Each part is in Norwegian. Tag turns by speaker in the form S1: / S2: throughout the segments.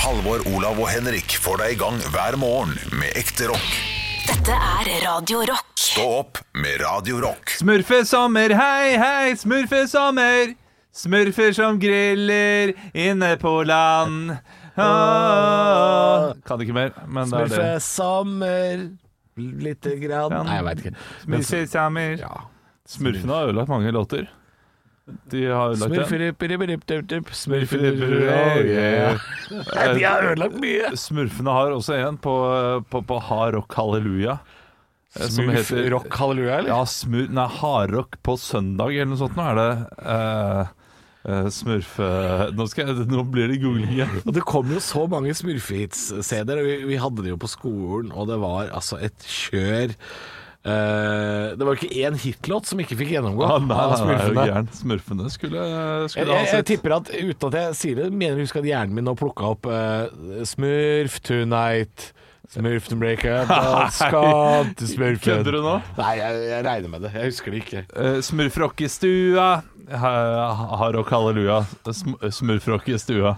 S1: Halvor, Olav og Henrik får deg i gang hver morgen med ekte rock.
S2: Dette er Radio Rock.
S1: Stå opp med Radio Rock.
S3: Smurfesommer, hei, hei, smurfesommer. Smurfer som griller inne på land. Åh. Kan ikke mer, men det er det.
S4: Smurfe sommer Lite grann Nei, jeg vet ikke Men så-
S3: Smurfesommer.
S4: ja.
S3: Smurfene har ødelagt mange låter. De har ødelagt den.
S4: Smurferipperipperipperip,
S3: Smurferipperipperip,
S4: smurferipperip. oh, Nei, De har ødelagt mye
S3: Smurfene har også en på, på, på Hard Rock Halleluja. eh, som heter-
S4: Smurf, rock, halleluja, eller?
S3: Ja, smur, nei, hardrock på søndag eller noe sånt. Nå er det eh, eh, smurfe... Nå, skal, jeg- nå blir det googling igjen.
S4: Og det kom jo så mange smurfehits-CD-er, og vi, vi hadde det jo på skolen, og det var altså et kjør. Eh, det var ikke én hitlåt som ikke fikk gjennomgå
S3: Ah, nei, nei, nei, er
S4: av
S3: jo
S4: smurfene.
S3: gæren. Smurfene skulle,
S4: Jeg,
S3: skulle
S4: jeg,
S3: ha
S4: jeg
S3: sett.
S4: tipper at uten at jeg sier det, mener du at hjernen min nå plukka opp eh, Smurf tonight, Smurf to break up, skal til smurfen.
S3: Kødder du nå?
S4: Nei, jeg, jeg regner med det. Jeg husker det ikke.
S3: Eh, smurfrock i stua. Ha- Hardrock halleluja. Sm smurfrock i stua.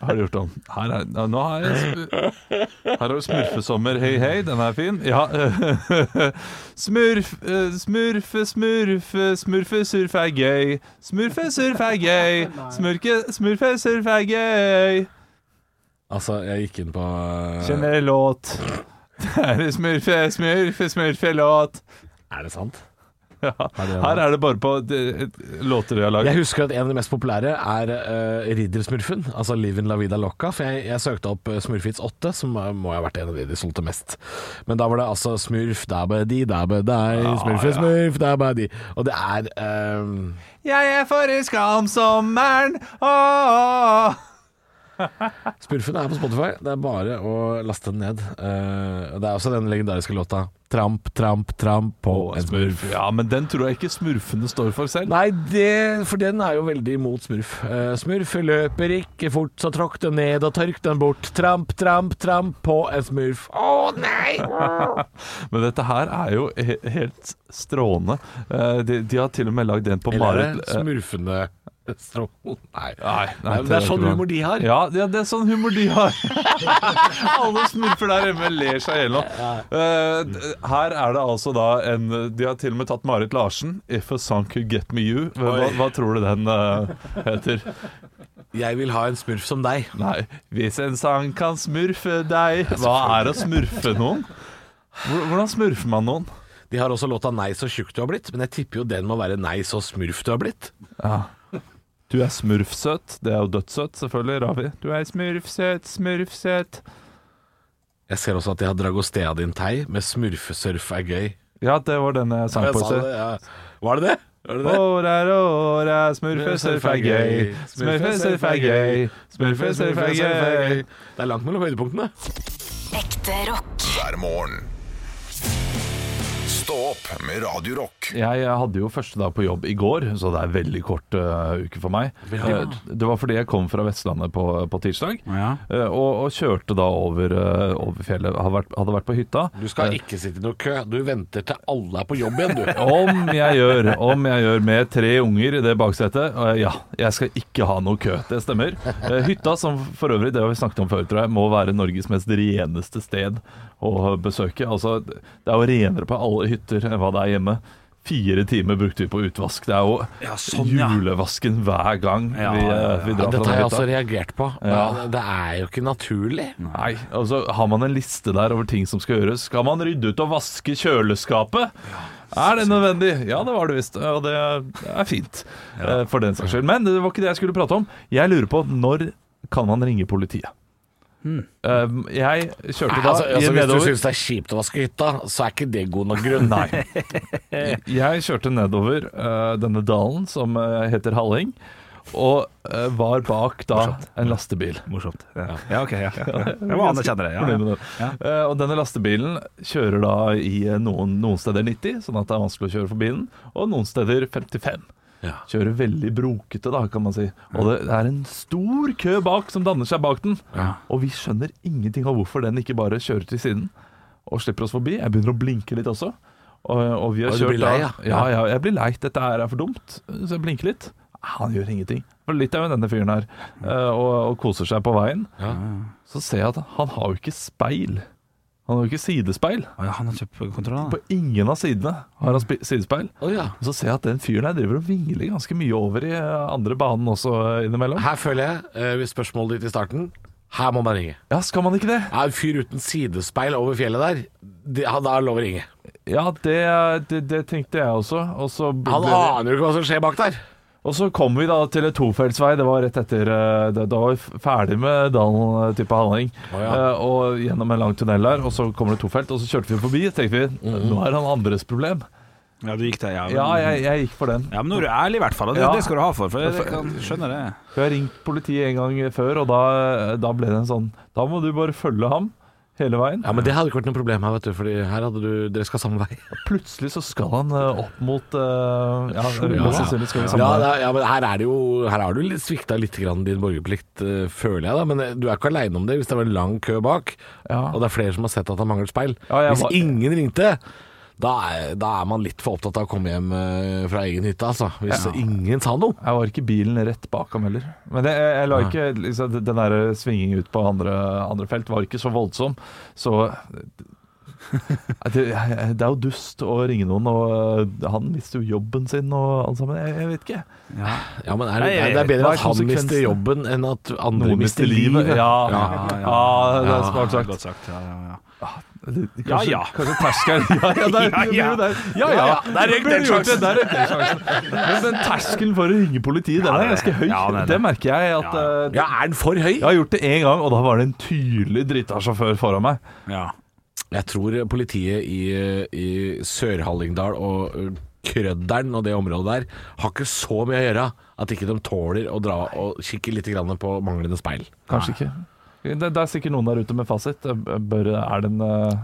S3: Har du gjort den? Her er, ja, nå har jeg sm Her har du smurfesommer, hei hei, den er fin. Ja. eh, Smurf, eh, smurfe, smurfe, smurfesurf er gøy. Smurfesurf er gøy. Smurke, smurfesurf er gøy.
S4: Altså, jeg gikk inn på eh,
S3: Kjenner låt. Det er smurfe, smurfe, smurfelåt.
S4: Er det sant?
S3: Ja. Her er det bare på eh, låter vi har laget.
S4: Jeg husker at en av de mest populære er uh, Riddersmurfen, altså Liv in la vida loca. For jeg, jeg søkte opp uh, Smurfits 8, som eh, må ha vært en av de de solgte mest. Men da var det altså Smurf, dabbe di, dabbe dei, smurfe, smurf, dabbe di. Og det er eh,
S3: Jeg er forelska om sommeren. Åh.
S4: Smurfen er på Spotify. Det er bare å laste den ned. Eh, det er også den legendariske låta Tramp, tramp, tramp på en smurf.
S3: Ja, men den tror jeg ikke smurfene står for selv.
S4: Nei, det, for den er jo veldig imot smurf. Eh, smurf løper ikke fort, så tråkk den ned og tørk den bort. Tramp, tramp, tramp på en smurf. Å nei!
S3: Men dette her er jo he helt strålende. Eh, De, de har til og med lagd en på Marit eh,
S4: smurfende strål. Nei.
S3: Nei, nei,
S4: Men det er sånn
S3: ikke bra.
S4: humor de har.
S3: Ja, det, det er sånn humor de har. Alle smurfer der hjemme ler seg i hjel nå. Eh, d- her er det altså da en De har til og med tatt Marit Larsen. 'If a song could get me you'. Hva, hva tror du den eh, heter?
S4: Jeg vil ha en smurf som deg.
S3: Nei, hvis en sang kan smurfe deg Hva er å smurfe noen? Hvor- Hvordan smurfer man noen?
S4: De har også låta 'Nei, så tjukk du har blitt', men jeg tipper jo den må være 'Nei, så smurf du har blitt'.
S3: Du er smurfsøt, det er jo dødssøt selvfølgelig, Ravi Du er smurfsøt, smurfsøt
S4: Jeg ser også at de har Dragostea din tei med 'Smurfesurf er gøy'.
S3: Ja, det var den jeg sang på
S4: sa det,
S3: seg
S4: ja. Var det det? Var det det?
S3: Åre, åre, smurfesurf er gøy Smurfesurf er gøy Smurfesurf er gøy
S4: Det er langt mellom høydepunktene.
S2: Ekte rock.
S1: Hver morgen. Stå opp med Radio Rock.
S3: Jeg hadde jo første dag på jobb i går, så det er veldig kort eh, uke for meg. Eh, det var fordi jeg kom fra Vestlandet på, på tirsdag, eh, og, og kjørte da over, eh, over fjellet. Hadde vært, hadde vært på hytta.
S4: Du skal ikke sitte i noe kø. Du venter til alle er på jobb igjen, du.
S3: Om jeg gjør, om jeg gjør med tre unger i det baksetet. eh, ja, jeg skal ikke ha noe kø. Det stemmer. Eh, hytta, som for øvrig, det har vi snakket om før, tror jeg, må være Norges mest reneste sted å besøke. Altså, det er jo renere på alle hytter enn hva det er hjemme. Fire timer brukte vi på utvask. Det er jo julevasken hver gang vi, eh, vi drar fra
S4: Dette altså har jeg
S3: den
S4: også
S3: hytta.
S4: reagert på.
S3: Ja.
S4: Det er jo ikke naturlig.
S3: Nei, altså Har man en liste der over ting som skal gjøres? Skal man rydde ut og vaske kjøleskapet? Er det nødvendig? Ja, det var det visst. Og det er fint, eh, for den saks skyld. Men det var ikke det jeg skulle prate om. Jeg lurer på når kan man ringe politiet? Eh, Jeg kjørte da
S4: Hmm. Altså, altså, hvis du
S3: nedover
S4: syns det er kjipt å vaske hytta, så er ikke det god nok grunn.
S3: Nei. Jeg kjørte nedover eh, denne dalen som eh, heter Halling, og eh, var bak da en lastebil.
S5: Morsomt. Ja, ja ok. Ja, ja. Jeg må anerkjenne det. Ja,
S3: Fornøyd
S5: ja.
S3: med det. Eh, og denne lastebilen kjører da i eh, noen, noen steder 90, sånn at det er vanskelig å kjøre forbi den, og noen steder 55.
S4: Ja.
S3: Kjører veldig brokete, da, kan man si. Og det er en stor kø bak som danner seg bak den. Og vi skjønner ingenting av hvorfor den ikke bare kjører til siden og slipper oss forbi. Jeg begynner å blinke litt også. Og, og vi har
S4: Og du
S3: kjørt
S4: blir lei,
S3: da-
S4: ja.
S3: ja, ja, jeg blir lei. Dette her er for dumt. Så jeg blinker litt. Han gjør ingenting. For litt er jo denne fyren her, eh, og, og koser seg på veien. Så ser jeg at han har jo ikke speil. Han har jo ikke sidespeil.
S5: Å ja, han har kjøpt kontroll,
S3: På ingen av sidene har han spe- sidespeil.
S4: Å ja.
S3: Og så ser jeg at den fyren her driver og vingler ganske mye over i eh, andre banen også eh, innimellom.
S4: Her føler jeg, eh, hvis spørsmålet ditt i starten Her må man ringe.
S3: Ja, skal man ikke det?
S4: Er en fyr uten sidespeil over fjellet der, det, han da er det lov å ringe.
S3: Ja, det, det, det tenkte jeg også. Og så,
S4: Han
S3: ble-
S4: aner jo ikke hva som skjer bak der.
S3: og så kom vi da til en tofeltsvei. Det var rett etter eh, det, Da var vi f- ferdig med dalen til Halling.
S4: Å, ja.
S3: Eh, Og gjennom en lang tunnel der, og så kommer det tofelt. Og så kjørte vi forbi. tenkte vi
S4: Mhm.
S3: nå er det han andres problem.
S5: Ja, du gikk der, ja.
S3: Ja, jeg, jeg gikk for den.
S5: Ja, men nå er du ærlig i hvert fall, og det,
S3: Ja.
S5: det skal du ha for, for jeg, jeg kan skjønne det.
S3: For Jeg har ringt politiet en gang før, og da, da ble det en sånn Da må du bare følge ham hele veien.
S4: Ja, men Det hadde ikke vært noe problem her, vet du, Fordi her hadde du Dere skal samme vei.
S3: Plutselig så skal han eh, opp mot eh, Ja, mest sannsynlig skal vi
S4: Ja,
S3: sammen.
S4: det er, ja, men her er det jo Her har du litt svikta litt grann din borgerplikt, eh, føler jeg da. Men eh, du er ikke aleine om det hvis det var en lang kø bak,
S3: Ja.
S4: og det er flere som har sett at han mangler speil.
S3: Ja, jeg
S4: hvis
S3: var-
S4: ingen ringte, da er, da er man litt for opptatt av å komme hjem eh, fra egen hytte, altså. Hvis ingen sa noe.
S3: Jeg var ikke bilen rett bak ham heller. Men det, jeg, jeg la ikke liksom, den der svingingen ut på andre, andre felt var ikke så voldsom. Så det, det er jo dust å ringe noen, og eh, han mister jo jobben sin og alt sammen. Jeg, jeg vet ikke.
S4: Ja, men er det,
S5: Nei,
S4: er, det er bedre
S3: hva er
S4: at han mister
S3: konsekvensen?
S4: jobben enn at andre
S3: Noen mister livet. Ja, ja,
S5: ja,
S3: det
S4: ja.
S3: er smart sagt.
S5: Godt sagt, ja, ja, ja.
S3: Kanskje,
S5: Ja, ja.
S3: Kanskje terskelen Ja, ja, der,
S5: Ja, ja.
S3: Der, ja, ja.
S5: Ja, ja, der røk den sjansen.
S3: Der røk den sjansen. Men den terskelen for å ringe politiet, den er ganske høy.
S5: Ja, den er det.
S3: Det merker jeg at
S5: Ja,
S3: eh,
S4: Ja, er den for høy?
S3: Jeg har gjort det én gang, og da var det en tydelig drita sjåfør foran meg.
S5: ja.
S4: Jeg tror politiet i, i Sør-Hallingdal og ø, Krødderen og det området der har ikke så mye å gjøre at ikke de tåler å dra og kikke litt grann på manglende speil.
S3: Kanskje ikke. Det, det er sikkert noen der ute med fasit. Bør, er det en eh,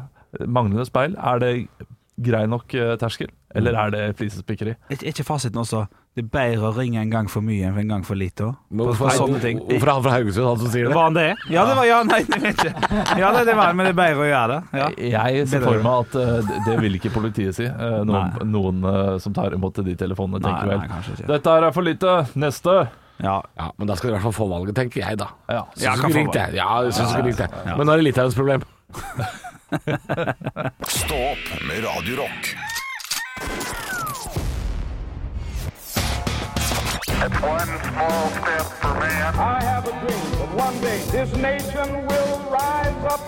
S3: manglende speil? Er det grei nok eh, terskel? Eller er det flisespikkeri?
S5: Er ikke- er ikke fasiten også det er bedre å ringe en gang for mye enn en gang for lite? også?
S4: Men
S5: På, på
S4: er-
S5: sånne ting.
S4: hvorfor er han fra Haugesund, han som sier det?
S5: Var han det? Ja, det var ja, nei, jeg vet ikke. Ja, det, det var han, men det er bedre å gjøre det. Ja.
S3: Jeg ser
S5: Det
S3: for
S5: er-
S3: meg at eh, det- det vil ikke politiet si. eh, Noen, noen eh, som tar imot de telefonene,
S5: Nei,
S3: tenker
S5: nei,
S3: vel.
S5: kanskje ikke.
S3: Dette her er for lite. Neste.
S5: Ja.
S4: Ja, men da skal dere i hvert fall få valget, tenker jeg da.
S3: Ja.
S4: Syns du
S5: Ja, kan
S4: ikke
S5: få
S4: ringte jeg. Ja, jeg syns du ikke ringte jeg.
S5: ja.
S4: Men nå er det Litauens problem.
S1: Stå opp med Radio Rock.
S6: One small step for man.
S7: I have a dream that one day this nation will rise up.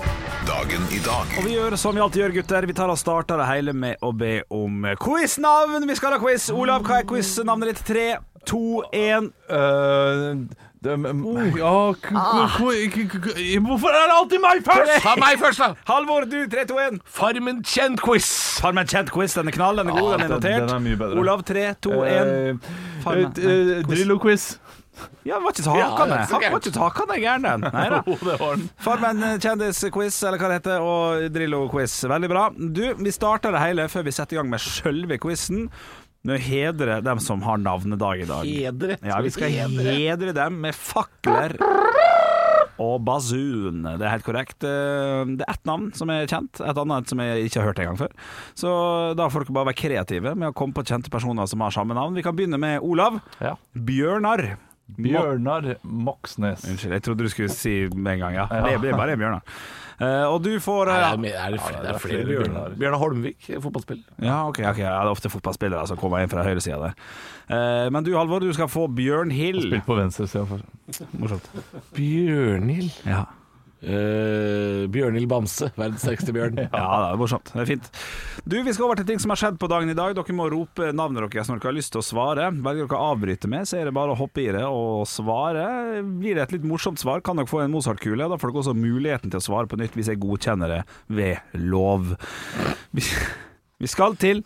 S1: Dagen i dag.
S5: Og vi gjør som vi alltid gjør, gutter. Vi tar og starter det hele med å be om quiznavn. Vi skal ha quiz. Olav, hva er quiznavnet ditt? Tre, to, én.
S3: Eh, Mm.
S5: Ah.
S3: Hvorfor er det alltid meg først?!
S4: Ta meg først, da!
S5: Halvor, du. Tre, to, én.
S4: Farmen kjent-quiz!
S5: Farm en kjent quiz. Den er knall, den er god, den er
S3: den-
S5: notert.
S3: den er mye bedre. Eh,
S5: Olav, tre, to, én. Farmen.
S3: Drillo-quiz.
S5: Ja, det var ikke så hakende.
S4: Ja, det er så
S5: Han var
S4: gærent.
S5: ikke så hakende gæren, Oh, den. Nei da. Farmen kjendisquiz, eller hva det heter, og Drillo-quiz. Veldig bra. Du, vi starter det hele før vi setter i gang med sjølve quizen. Nå hedrer dem som har navnedag i dag.
S4: Hedre?
S5: Ja, vi skal hedre dem med fakler og basun. Det er helt korrekt. Eh, Det er ett navn som er kjent, et annet som jeg ikke har hørt engang før. Så da får dere bare være kreative med å komme på kjente personer som har samme navn. Vi kan begynne med Olav.
S3: Ja.
S5: Bjørnar.
S3: Bjørnar Moxnes.
S5: Unnskyld, jeg trodde du skulle si med en gang, ja. Det blir bare en bjørn, da. Eh, og du får
S4: Er
S5: eh,
S4: det, er det, flere, det er flere
S3: flere
S4: Bjørnar. Bjørnar Holmvik, eh, fotballspiller.
S5: Ja, ok, ok. Ja, det er ofte fotballspillere som kommer inn fra høyresida der. Eh, men du, Halvor, du skal få Bjørn Hill.
S3: Spilt på venstresida for
S5: Morsomt.
S4: Bjørnhild.
S5: Ja.
S4: Eh, Bjørnhild Bamse, verdens sterkeste bjørn.
S5: Ja, det er morsomt. Det er fint. Du, Vi skal over til ting som har skjedd på dagen i dag. Dere må rope navnet deres når dere har lyst til å svare. Velger dere å avbryte med, så er det bare å hoppe i det og svare. Blir det et litt morsomt svar, kan dere få en Mozart-kule. Da får dere også muligheten til å svare på nytt hvis jeg godkjenner det ved lov. Vi vi skal til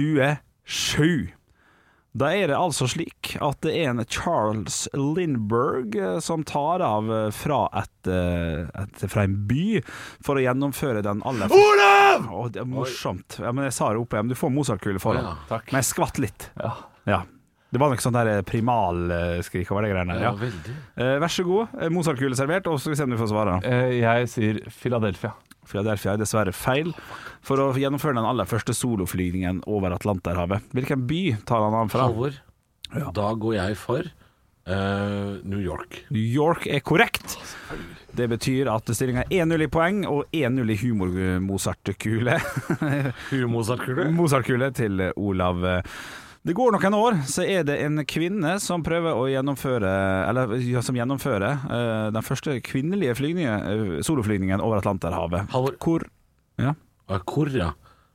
S5: 1927. Da er det altså slik at det er en Charles Lindberg eh, som tar av eh, fra, et, eh, et, fra en by for å gjennomføre den aller Olav! det er morsomt. Ja, men jeg sa det opp igjen. Du får Mozart-kule foran.
S4: Ja,
S5: men jeg skvatt litt. Ja. Det var nok sånn der primalskrik over de greiene der. Ja.
S4: veldig.
S5: Eh, Vær så god. eh, Mozart-kule servert, og så skal vi se om du får svare.
S3: Eh, Jeg sier Philadelphia.
S5: Philadelphia er dessverre feil for å gjennomføre den aller første soloflygningen over Atlanterhavet. Hvilken by tar han av fra?
S4: Halvor. Da går jeg for eh, New York.
S5: New York er korrekt. Det betyr at stillinga er 1-0 i poeng og 1-0 i humor-Mozart-kule. Mozart-kule til Olav. Det går noen år, så er det en kvinne som prøver å gjennomføre Eller ja, som gjennomfører eh, den første kvinnelige flygningen, eh, soloflygningen over Atlanterhavet.
S4: Halvor.
S5: Hvor Ja.
S4: Ah, Hvor, ja.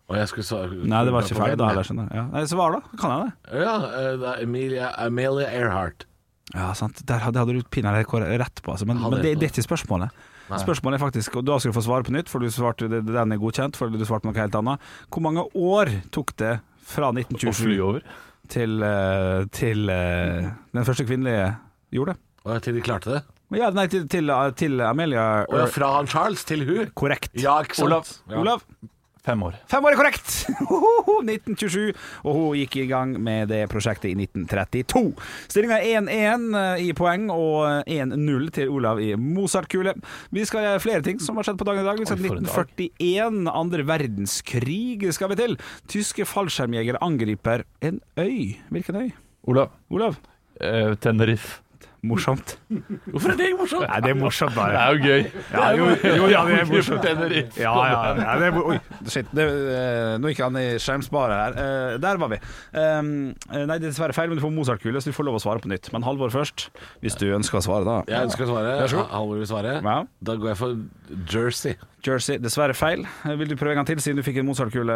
S4: Og jeg skulle sa-
S5: Nei, det var ikke
S4: på
S5: ferdig da
S4: veien.
S5: heller, skjønner jeg. Ja. Nei, Svar, da. Kan jeg det?
S4: Ja, eh, det er Amelia, Amelia Earhart.
S5: Ja, sant. Der hadde, hadde du pinadø rett på, altså. men,
S4: Hadde
S5: men det,
S4: rett på.
S5: det er ikke spørsmålet. Spørsmålet er faktisk, og Da skal du få svare på nytt, for du svarte, det- den er godkjent. For du svarte noe helt annet. Hvor mange år tok det fra
S3: Å fly
S5: 1927
S3: over.
S5: til, eh, til eh, den første kvinnelige gjorde det?
S4: Og til de klarte det.
S5: Men Ja, nei, til, til, til Amelia eh,
S4: Og ja, fra han Charles til hun.
S5: Korrekt.
S4: Ja, ikke sant?
S5: Olav,
S4: Ja.
S5: Olav.
S3: Fem år.
S5: Fem år er korrekt! 1927. Og hun gikk i gang med det prosjektet i 1932. Stillinga er 1-1 i poeng og 1-0 til Olav i Mozart-kule. Vi skal gjøre flere ting som har skjedd på dagen i dag. Vi skal
S3: Oi, for
S5: til
S3: en
S5: 1941. Andre verdenskrig skal vi til. Tyske fallskjermjegere angriper en øy. Hvilken øy?
S3: Olav.
S5: Olav?
S3: Eh, Tenerife.
S5: Morsomt.
S4: Hvorfor er det morsomt?
S5: Nei, det er morsomt,
S3: Det
S5: bare.
S3: er jo gøy.
S5: Ja, jo, jo, ja, det er morsomt.
S3: Tenerife.
S5: Ja, ja, ja det, er- Oi, shit. Det, eh, nå gikk han i skjermsparet her. Eh, der var vi. Um, eh, nei, det er dessverre feil, men du får Mozart-kule, så du får lov å svare på nytt. Men Halvor først, hvis du ønsker å svare, da.
S4: Jeg ønsker å svare.
S5: Vær så god.
S4: Ha- Halvor vil svare.
S5: Ja.
S4: Da går jeg for Jersey.
S5: Jersey, dessverre feil. Eh, Vil du prøve en gang til, siden du fikk en Mozart-kule?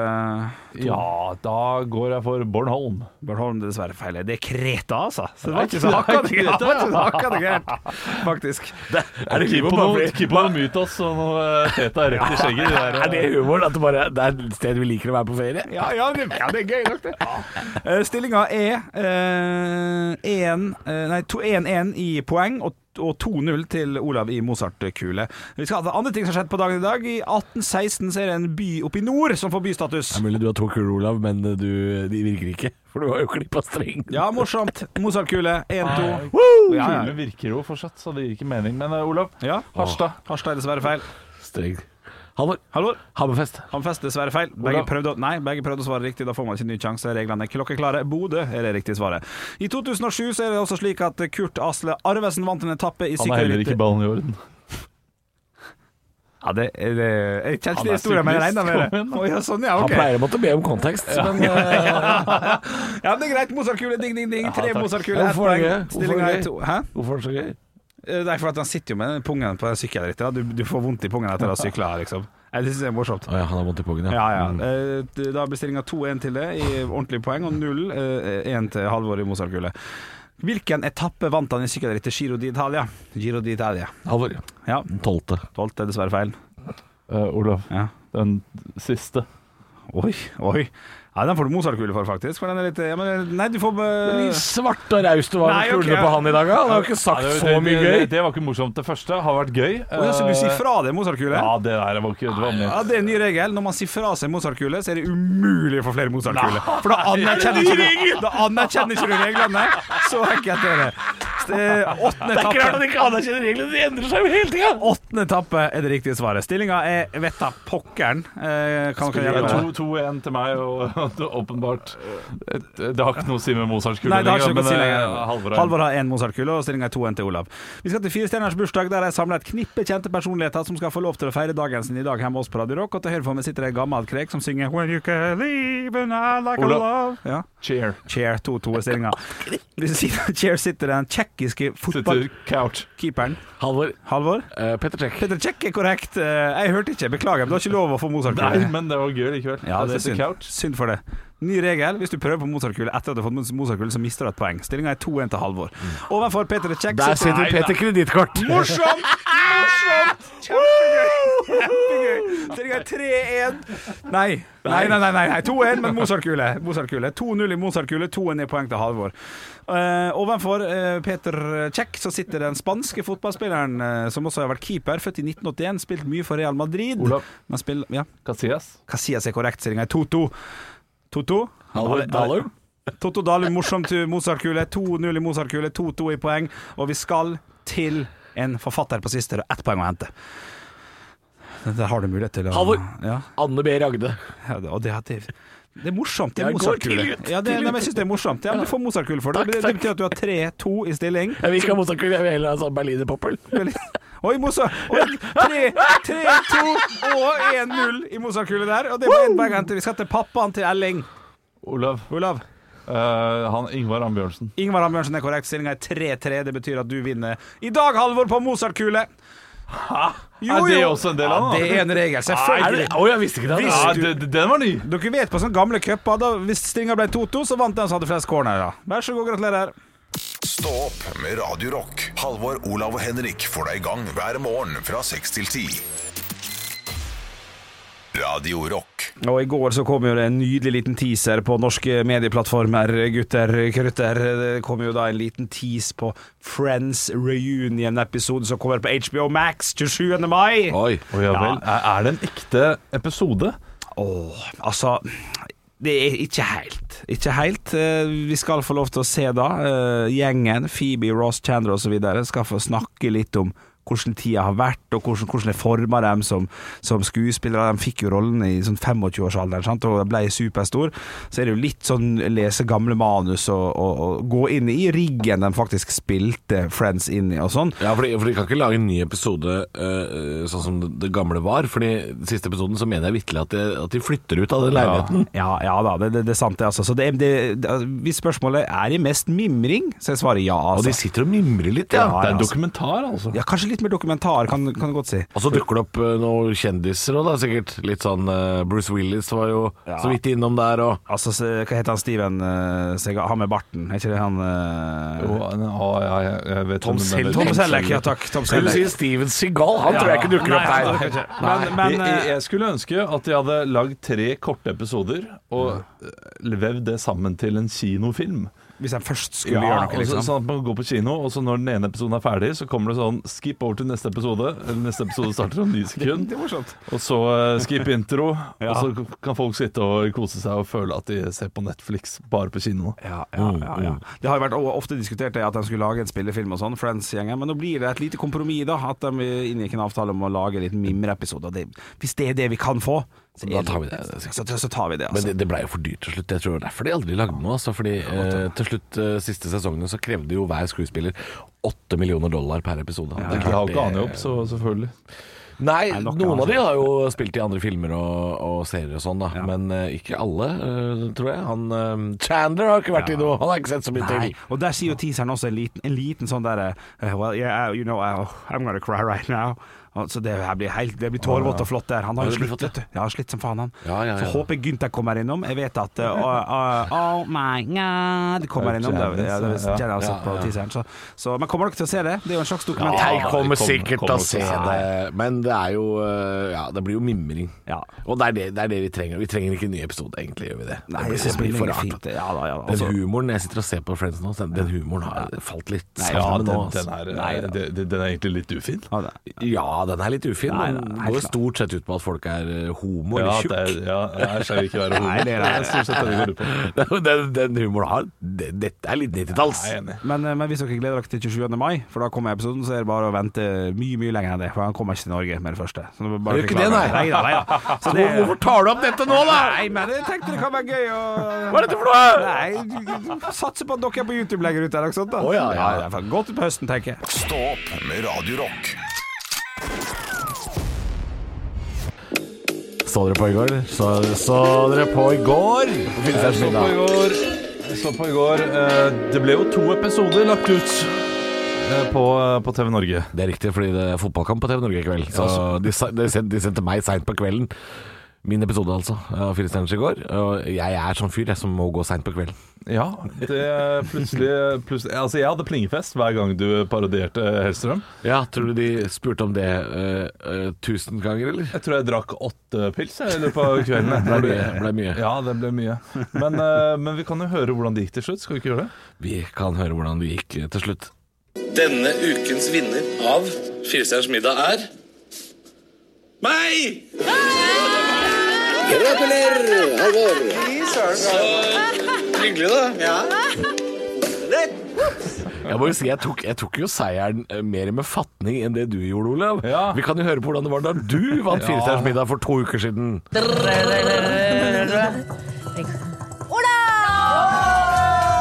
S3: Ja, da går jeg for Bornholm.
S5: Bornholm, det er dessverre feil. Det er Kreta, altså. Så det var ikke så hakkende
S3: Kreta,
S5: gærent. Det var ikke så hakkende gærent, faktisk.
S4: Er det humor,
S3: Keep on,
S4: bare fordi-
S3: keep on mythos og noe eh, teta rett i skjegget. Det der,
S4: Er det
S3: eh,
S4: humor at det bare det er et sted vi liker å være på ferie?
S5: Ja, ja, det, ja, det er gøy nok, det. Eh, Stillinga er eh, 1, eh, nei, to- 1-1 i poeng og, og 2-0 til Olav i Mozart-kule. Vi skal ha til andre ting som har skjedd på dagen i dag. I 1816 så er det en by oppe i nord som får bystatus.
S4: Det er mulig du har to kuler, Olav, men eh, du, de virker ikke. For du har jo klippa streng.
S5: Ja, morsomt. Mozart-kule 1-2. Ja, ja.
S3: Kulene virker jo fortsatt, så det gir ikke mening. Men eh, Olav.
S5: Ja.
S3: Harstad.
S5: Harstad er dessverre feil.
S4: Streng. Halvor.
S5: Halvor?
S4: Hammerfest.
S5: Hammerfest dessverre feil. Begge
S3: Olav.
S5: prøvde, å, nei, begge prøvde å svare riktig, da får man ikke ny sjanse. Reglene er klokkeklare. Bodø er det riktige svaret. I 2007 så er det også slik at Kurt Asle Arvesen vant en etappe i
S3: Han har heller ikke
S5: sykkelrittet.
S3: ballen i orden.
S5: Ja, det, er det, jeg
S3: Han
S5: kjenner ikke
S3: er
S5: det historien, men jeg
S3: syklist.
S5: regner med det.
S3: Kom igjen, da.
S5: Å, ja, sånn, ja,
S4: Han
S5: ok.
S4: pleier å måtte be om kontekst, men eh,
S5: ja, men det er greit. Mozartkule, ding, ding, ding. Tre
S3: takk.
S5: Mozartkule, ett
S4: Hvorfor er
S5: poeng.
S4: det gøy? Hvorfor er det
S5: Stillingen er
S4: gøy?
S5: to. Hæ?
S4: Hvorfor er det så gøy?
S5: Eh, Det er fordi at han sitter jo med den pungen på den sykkelrittet. da. Du, du får vondt i pungen etter å ha sykla, liksom. Jeg synes det er morsomt.
S4: Å ja, han har vondt i pungen,
S5: Ja, ja. Eh, d- Da blir stillinga 2-1 til det i ordentlige poeng, og 0-1 til Halvor i Mozartkule. Hvilken etappe vant han i sykkelrittet Giro d'Italia? Giro d'Italia.
S4: Halvor.
S5: Ja,
S4: Den tolvte.
S5: tolvte er dessverre feil.
S3: Eh, Olav,
S5: Ja.
S3: den siste.
S5: Oi, oi. Ja, den får du Mozart-kule for, faktisk. For den er litt ja, men, Nei, du får eh,
S4: Svart og raust du var
S5: Nei,
S4: med kulene
S5: ok.
S4: på han i dag, da. Han har jo ikke sagt
S3: Ja, det-
S4: så
S3: det-
S4: mye
S3: Det,
S4: gøy.
S3: det, det var ikke morsomt. Det første har vært gøy.
S5: Å, ja, så du sier
S3: Eh,
S5: fra deg Mozart-kule?
S3: Ja, det der var ikke det var
S5: Ja,
S3: med.
S5: det er en ny regel. Når man sier fra seg Mozart-kule, så er det umulig å få flere Mozart-kule. For da anerkjenner ikke du Da anerkjenner ikke du reglene. Så enkelt er det. Så det er Åttende etappe,
S4: ikke anerkjenner reglene, de endrer seg jo hele tida!
S5: åttende etappe er det riktige svaret. Stillinga er vet da pokkeren. Eh, kan dere hjelpe meg?
S3: 2-1 til meg, og det er åpenbart Det det har ikke noe å si med Mozarts kule
S5: Nei, det har ikke noe å si
S3: eh,
S5: lenger.
S3: Halvor har-
S5: Halvor har én Mozart-kule, og stillinga er 2-1 til Olav. Vi skal til Fire stjerners bursdag, der jeg samler et knippe kjente personligheter som skal få lov til å feire dagen sin i dag hjemme hos oss på Radio Rock. Og til høyre for meg sitter det en gammel krek som synger When you can leave and I like a
S3: Olav.
S5: love. Ja.
S3: Cheer.
S5: Chair 2-2-stillinga. Ved siden av Chair sitter den tsjekkiske
S3: Sitter
S5: fotballkeeperen
S3: couch.
S4: Halvor.
S5: Halvor.
S4: eh, Petter Czech.
S5: Petter Check er korrekt. Eh, Jeg hørte ikke, beklager. Men det var ikke lov å få
S3: Nei,
S5: Mozart-kule.
S3: men det var gøy likevel.
S5: Ja, det er
S3: sitter
S5: synd.
S3: couch.
S5: synd for det. Ny regel. Hvis du prøver på Mozart-kule etter at du har fått Mozart-kule, så mister du et poeng. Stillinga er 2-1 til Halvor. Overfor Peter Check
S4: Der sitter Peter Kredittkort.
S5: Morsomt! Morsomt! Kjempegøy! Kjempegøy. Stillinga er 3-1 Nei, nei, nei, nei, nei, nei. 2-1, men Mozart-kule. Mozart-kule. 2-0 i Mozart-kule, 2-1 er poeng til Halvor. Eh, ovenfor eh, Peter Cech så sitter den spanske fotballspilleren eh, som også har vært keeper, født i 1981, spilt mye for Real Madrid.
S3: Olav.
S5: Men spill, ja,
S3: Casillas.
S5: Casillas er korrekt, stillinga er 2-2. 2-2?
S4: Halvor Dalum.
S5: Totto Dalum, morsomt til Mozartkule. 2-0 i Mozartkule, 2-2 i poeng. Og vi skal til en forfatter på siste, og ett poeng å hente. Det har du mulighet til å
S4: Halvor.
S5: Ja,
S4: Anne B. Ragde.
S5: ja, det- og det, har- det, det er morsomt. Det er
S4: Jeg går
S5: Mozart-kule.
S4: til ut,
S5: Ja, det,
S4: til
S5: nei, men
S4: ut.
S5: jeg syns det er morsomt. Ja, men du får Mozart-kule for det.
S4: Takk,
S5: Det- Det
S4: takk.
S5: betyr at du har 3-2 i stilling.
S4: Jeg vil ikke ha motorkule, jeg vil heller ha sånn berlinerpoppel.
S5: Veldig- Oi, Mozart! Oi, 3-2 og 1-0 i Mozart-kule der. Og det var en poeng å hente. Vi skal til pappaen til Elling.
S3: Olav.
S5: Olav.
S3: eh, han Ingvar Ambjørnsen.
S5: Ingvar Ambjørnsen er korrekt. Stillinga er 3-3. Det betyr at du vinner i dag, Halvor, på Mozart-kule.
S3: er det også en del av
S5: Ja,
S3: den?
S5: det er en regel, selvfølgelig.
S4: Å, jeg visste ikke det.
S3: Ja, d- d- den var ny!
S5: Dere vet på sånne gamle cuper, da hvis stillinga ble 2-2, så vant den som hadde flest cornerer. Vær så god, gratulerer.
S1: Stå opp med Radio Rock. Halvor, Olav og Henrik får deg i gang hver morgen fra 6 til 10. Radio Rock.
S5: Og i går så kom jo det en nydelig liten teaser på norske medieplattformer, gutter, krutter. Det kom jo da en liten tease på Friends reunion-episode som kommer på HBO Max 27. mai.
S4: Oi.
S3: Å ja vel. Er, er det en ekte episode?
S5: Åh, altså det er ikke helt. Ikke helt. Eh, Vi skal få lov til å se da. eh, Gjengen, Phoebe, Ross, Chandler osv. skal få snakke litt om hvordan tida har vært, og hvordan, hvordan det forma dem som, som skuespillere. De fikk jo rollen i sånn 25-årsalderen sant? og ble superstor. Så er det jo litt sånn lese gamle manus og, og, og gå inn i riggen de faktisk spilte Friends inn i og sånn.
S4: Ja, for de, for de kan ikke lage en ny episode eh, sånn som det, det gamle var. For i siste episoden så mener jeg vitterlig at, de- at de flytter ut av den leiligheten.
S5: Ja, ja da, det, det, det er sant det, altså. Så det, det, det, hvis spørsmålet er i mest mimring, så er svaret ja,
S4: Og
S5: altså.
S4: de sitter og mimrer litt,
S3: Det
S4: ja.
S5: Ja,
S3: er en
S5: altså.
S3: dokumentar, altså.
S5: Ja, kanskje litt mer dokumentar, kan, kan jeg godt si.
S4: Og så dukker det opp eh, noen kjendiser òg, da. Sikkert litt sånn eh, Bruce Willis var jo
S5: Ja.
S4: så vidt innom der, og
S5: Altså, se- hva heter han Steven eh, Segal? Han med barten, er ikke det han eh,
S3: Jo, han- å, ja, jeg, jeg vet
S5: Tom
S3: hvem du mener.
S5: Selleck? Tom Selleck, ja takk. Tom
S4: Skulle si
S5: Selleck.
S4: Steven Seagal, han tror jeg ikke dukker opp
S5: Nei,
S4: her.
S5: han dukker ikke. Men, men
S3: jeg,
S5: eh,
S3: jeg skulle ønske at de hadde lagd tre korte episoder og eh, vevd det sammen til en kinofilm.
S5: hvis jeg først skulle gjøre noe,
S3: altså,
S5: liksom.
S3: Sånn at man går på kino, og så når den ene episoden er ferdig, så kommer det sånn skip over til neste episode. Eller neste episode starter om ni sekund.
S4: sånn.
S5: Det er morsomt.
S3: Og så eh, skip intro, og så kan folk sitte og kose seg og føle at de ser på Netflix bare på kino.
S5: Ja, ja,
S4: Mm,
S5: ja, ja. Det har jo vært o- ofte diskutert det at de skulle lage en spillefilm og sånn, Friends-gjengen, men nå blir det et lite kompromiss, da. At de inngikk en avtale om å lage en liten mimreepisode. og det- Hvis det er det vi kan få, så,
S4: Da
S5: er
S4: tar vi det, det er
S5: så, så tar vi det.
S4: Men
S5: Altså.
S4: det, det blei jo for dyrt til slutt. Jeg tror det er derfor de aldri lagde noe. Altså, fordi eh, til slutt, eh, siste sesongene, så krevde jo hver skuespiller åtte millioner dollar per episode. Det er
S3: De
S4: klart
S3: har jo ikke
S4: det-
S3: annen jobb, så selvfølgelig.
S4: Nei,
S5: nok
S4: noen
S5: av
S4: av de har jo spilt i andre filmer og, og serier og sånn, da. Men eh, ikke alle, eh, tror jeg. Han eh, Chandler har ikke vært i noe. Han har ikke sett så mye
S5: Nei,
S4: til.
S5: og der sier jo teaseren også en liten, en liten sånn derre eh, Well, yeah, you know, I, oh, I'm gonna cry right now. Og Så det her blir, helt- det blir tårevått og flott der. Han har jo
S4: Ja, det blir
S5: slitt,
S4: flott,
S5: vet du. Ja, slitt som faen, han.
S4: Ja, ja, ja.
S5: Så håper jeg Gunther kommer innom. Jeg vet at eh, uh, uh, Oh my god kommer innom. Det, er- ja, det er Jenna har sett på teaseren. Så, så, men kommer dere til å se det? Det er jo en slags dokumentar.
S4: Jeg
S3: Ja,
S4: kommer
S3: det kommer-
S4: sikkert til
S3: kommer
S4: å se
S3: til å
S4: det, men det er jo eh, Ja, det blir jo mimring.
S5: Ja.
S4: Og det er det, det er det vi trenger. Vi trenger ikke en ny episode, egentlig gjør vi det.
S5: Nei,
S4: det blir-
S5: jeg synes
S4: det blir
S5: mimring
S4: for
S5: er
S4: rart.
S5: fint. Ja, da, ja, da.
S4: Den
S5: Altså-
S4: humoren jeg sitter og ser på Friends nå, den, den humoren har falt litt
S3: Ja,
S4: sammen
S3: den,
S4: nå. altså.
S3: den, er, eh, den- den er egentlig litt ufin.
S5: Ja, det-
S4: Ja, den er litt ufin.
S5: Nei,
S4: Den
S5: den er helt
S4: går jo
S5: klar.
S4: stort sett ut på at folk er eh, homo
S3: Ja,
S4: eller
S3: det
S4: tjukk.
S3: er, ja, jeg skal ikke være homo.
S5: Nei, det er det.
S3: er stort sett det det går ut på.
S4: Den, den humoren har det- Dette er litt 90-talls.
S3: Jeg er enig.
S5: Men, eh, men hvis dere gleder dere til 27. mai, for da kommer episoden, så er det bare å vente mye mye lenger enn det. For han kommer ikke til Norge med det første. Så det er bare
S4: Gjør ikke det, nei.
S5: Neida, neida. Så det,
S4: Hvorfor tar du opp dette nå, da?
S5: Nei, men jeg tenkte det kan være gøy å
S4: Hva er dette for noe?
S5: Nei, satser på at dere er på YouTube lenger ute eller noe sånt. da
S4: Å, ja, ja, ja.
S5: det er Godt ut på høsten, tenker jeg.
S1: Stå opp med Radio Rock.
S4: Så dere på i går? Så, så dere på i går? På Filmstjerns
S3: Så på i
S4: middag.
S3: går, så på i går eh, Det ble jo to episoder lagt ut eh, på, på TV Norge.
S4: Det er riktig, fordi det er fotballkamp på TV Norge i kveld. Så de, sa- de, sendte, de sendte meg seint på kvelden. Min episode, altså, av Fire stjerners i går. Og jeg er sånn fyr jeg som må gå seint på kvelden.
S3: Ja, det plutselig, plutselig Altså, jeg hadde plingefest hver gang du parodierte Hellstrøm.
S4: Ja, tror du de spurte om det eh, eh, tusen ganger, eller?
S3: Jeg tror jeg drakk åtte pils jeg, i løpet av kvelden.
S4: Det ble mye, ble mye.
S3: Ja, det ble mye. Men, eh, men vi kan jo høre hvordan det gikk til slutt. Skal vi ikke gjøre det?
S4: Vi kan høre hvordan det gikk eh, til slutt.
S8: Denne ukens vinner av Firestjerners middag er meg!
S9: Gratulerer, Halvor.
S8: Hyggelig, da.
S4: Jeg må jo si, jeg tok, jeg tok jo seieren eh, mer med fatning enn det du gjorde, Olav.
S3: Ja.
S4: Vi kan jo høre på hvordan det var da du vant Firestjerners middag for to uker siden.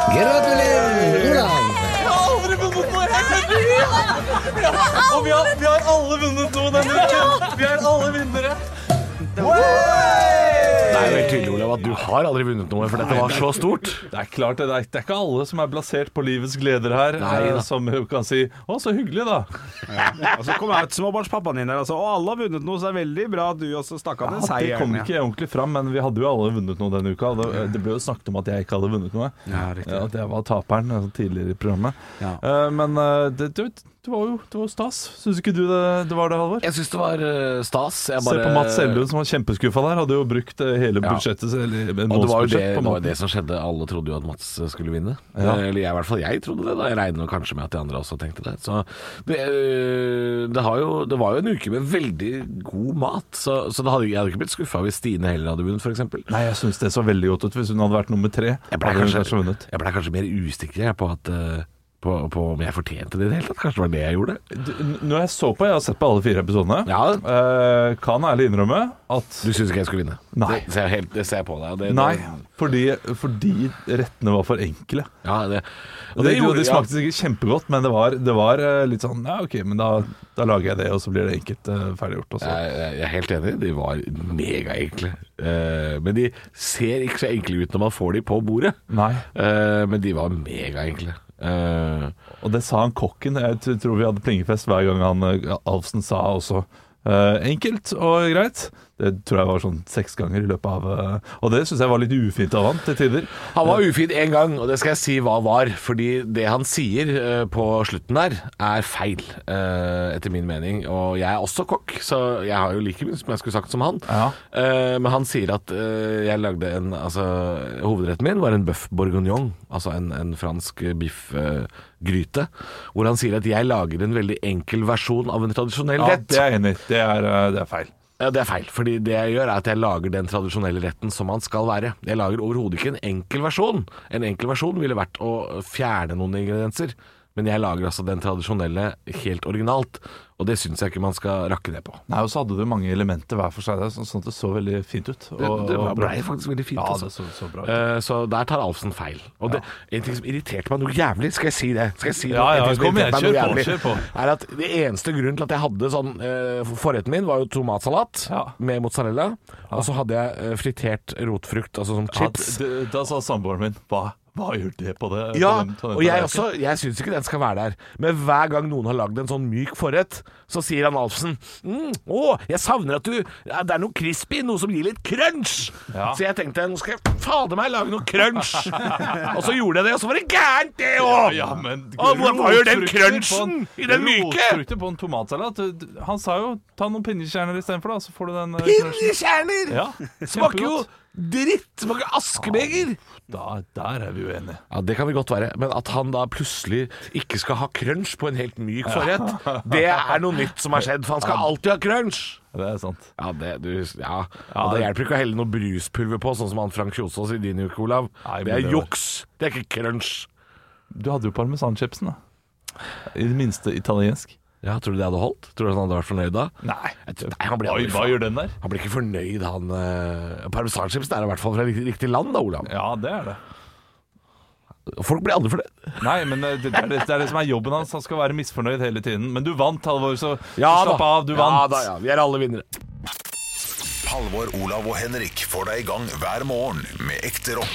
S4: Gratulerer, Olav!
S9: Og vi har, vi har alle vunnet noe denne uken! Vi er alle vinnere.
S4: Det er jo helt tydelig, Olav, at du har aldri vunnet noe, for dette var så stort.
S3: Det er klart, det er, det er ikke alle som er plassert på livets gleder her,
S4: Nei,
S3: eh,
S4: da.
S3: som kan si 'Å, så hyggelig', da.
S5: Og så kommer jeg ut småbarnspappaen din der altså. Og alle har vunnet noe, så det er veldig bra at du også stakk av den
S3: Ja, det kom
S5: seieren.
S3: ikke ordentlig fram, men vi hadde jo alle vunnet noe denne uka. og Det, det ble jo snakket om at jeg ikke hadde vunnet noe.
S5: Ja, riktig.
S3: At jeg var taperen altså, tidligere i programmet.
S5: Ja.
S3: Eh, men eh, det, det, det var jo det var jo stas. Syns ikke du det, det var det, Halvor?
S4: Jeg syns det var eh, stas. Jeg
S3: Se
S4: bare-
S3: på Mats Elvund som var kjempeskuffa der. Hadde jo brukt eh, hele
S4: Ja.
S3: budsjettet eller en
S4: Og det var jo det,
S3: månedsbudsjett på
S4: det, var jo
S3: maten.
S4: det som skjedde. Alle trodde jo at Mats skulle vinne.
S3: Ja.
S4: Eh, Eller jeg, i hvert fall jeg trodde det. da Jeg regner jo kanskje med at de andre også tenkte det. Så det, eh, det, har jo, det var jo en uke med veldig god mat, så, så det hadde, jeg hadde ikke blitt skuffa hvis Stine heller hadde vunnet, f.eks.
S3: Nei, jeg syns det så veldig godt ut hvis hun hadde vært nummer tre.
S4: Jeg blei
S3: hadde hun
S4: kanskje,
S3: kanskje vunnet.
S4: jeg ble kanskje mer usikker jeg, på, at, eh, på, på om jeg fortjente det i det hele tatt. Kanskje det var det jeg gjorde.
S3: Du, n- Når jeg så på, jeg har sett på alle fire episodene,
S4: Ja.
S3: eh, kan ærlig innrømme at
S4: Du syns ikke jeg skulle vinne?
S3: Nei.
S4: Det ser jeg, helt, det ser jeg på deg. og Det,
S3: Nei,
S4: Det,
S3: fordi, fordi rettene var for enkle.
S4: ja, det,
S3: Og det,
S4: gjorde-
S3: det
S4: ja.
S3: smakte sikkert kjempegodt, men det var, det var eh, litt sånn Ja, OK, men da, da lager jeg det, og så blir det enkelt eh, ferdiggjort. Og så.
S4: Jeg, jeg jeg er helt enig, de var megaenkle. Eh, men de ser ikke så enkle ut når man får de på bordet.
S3: Nei.
S4: Eh, men de var megaenkle. Eh,
S3: Og det sa han kokken. Jeg t- tror vi hadde plingefest hver gang han eh, Alfsen sa også. eh, enkelt og greit. Det tror jeg var sånn seks ganger i løpet av eh, Og det syns jeg var litt ufint av han til tider.
S4: han var ufin én gang, og det skal jeg si hva var. Fordi det han sier eh, på slutten der, er feil, eh, etter min mening. Og jeg er også kokk, så jeg har jo like mye som jeg skulle sagt som han.
S3: Ja.
S4: Eh, men han sier at eh, jeg lagde en Altså, hovedretten min var en bøff bourguignon, altså en, en fransk eh, biff eh, gryte, hvor han sier at jeg lager en veldig enkel versjon av en tradisjonell
S3: Ja,
S4: rett.
S3: det er jeg enig i. Det, er, eh, det er feil.
S4: Ja, det er feil, fordi det jeg gjør er at jeg lager den tradisjonelle retten som han skal være. Jeg lager overhodet ikke en enkel versjon. En enkel versjon ville vært å fjerne noen ingredienser, men jeg lager altså den tradisjonelle helt originalt, og det syns jeg ikke man skal rakke ned på.
S3: Nei, Og så hadde du mange elementer hver for seg, der, så- sånn at det så veldig fint ut.
S4: Det,
S3: og-
S4: det
S3: og bra.
S4: ble faktisk veldig fint.
S3: Ja,
S4: altså.
S3: det så, så bra ut.
S4: Eh, Så der tar Alfsen feil. Og det, En ting som irriterte meg noe jævlig, skal jeg si det Skal jeg si
S3: Ja, ja,
S4: En ting som
S3: kom igjen,
S4: irriterte meg
S3: kjør
S4: noe
S3: på,
S4: jævlig,
S3: kjør
S4: Er at det eneste grunnen til at jeg hadde sånn eh, for- Forretten min var jo tomatsalat
S3: Ja.
S4: med mozzarella. Og så hadde jeg eh, fritert rotfrukt, altså som
S3: Ja,
S4: chips.
S3: d- d- da sa samboeren min Hva, hva gjør det på det? på
S4: Ja,
S3: den- på den
S4: og jeg
S3: tallerkenen?»
S4: også, jeg syns ikke den skal være der. Men hver gang noen har lagd en sånn myk forrett, så sier han Alfsen mm, 'Å, jeg savner at du ja, Det er noe crispy, noe som gir litt crunch'.
S3: Ja.
S4: Så jeg tenkte nå skal jeg fader meg lage noe crunch. og så gjorde jeg det, og så var det gærent, det òg!
S3: Ja, men
S4: Å, Ah, hva- hva gjør den
S3: rotfrukter på
S4: crunchen
S3: en-
S4: i den myke?
S3: Rotfrukter på en tomatsalat. Du- du- Han sa jo ta noen pinnekjerner istedenfor, da, så får du den eh, crunchen.
S4: Pinnekjerner!
S3: Ja,
S4: Smaker jo
S3: kjempegodt.
S4: dritt! Smaker askebeger!
S3: Da, Der er vi uenige.
S4: Ja, Det kan vi godt være, men at han da plutselig ikke skal ha crunch på en helt myk forrett, det er noe nytt som har skjedd, for han skal alltid ha crunch.
S3: Det er sant.
S4: Ja, det, du, ja. Og det hjelper ikke å helle noe bruspulver på, sånn som han Frank Kjosås i din uke, Olav.
S3: Nei, men
S4: det er
S3: det var-
S4: juks, det er ikke crunch.
S3: Du hadde jo parmesanchipsen, da. I det minste italiensk.
S4: Ja, Tror du det hadde holdt? Tror du han hadde vært fornøyd da?
S3: Nei.
S4: Jeg tror- Nei, han blir
S3: Hva,
S4: aldri
S3: hva gjør den der?
S4: Han blir ikke fornøyd, han uh, Parmesanchips er i hvert fall fra riktig, riktig land, da, Olav.
S3: Ja, det er det.
S4: Folk blir aldri fornøyd.
S3: Nei, men eh, det, det, er det, det er det som er jobben hans. Han skal være misfornøyd hele tiden. Men du vant, Halvor, så så slapp av. Du
S4: Ja
S3: vant.
S4: da, ja. Vi er alle vinnere.
S1: Halvor, Olav og Henrik får deg i gang hver morgen med ekte rock.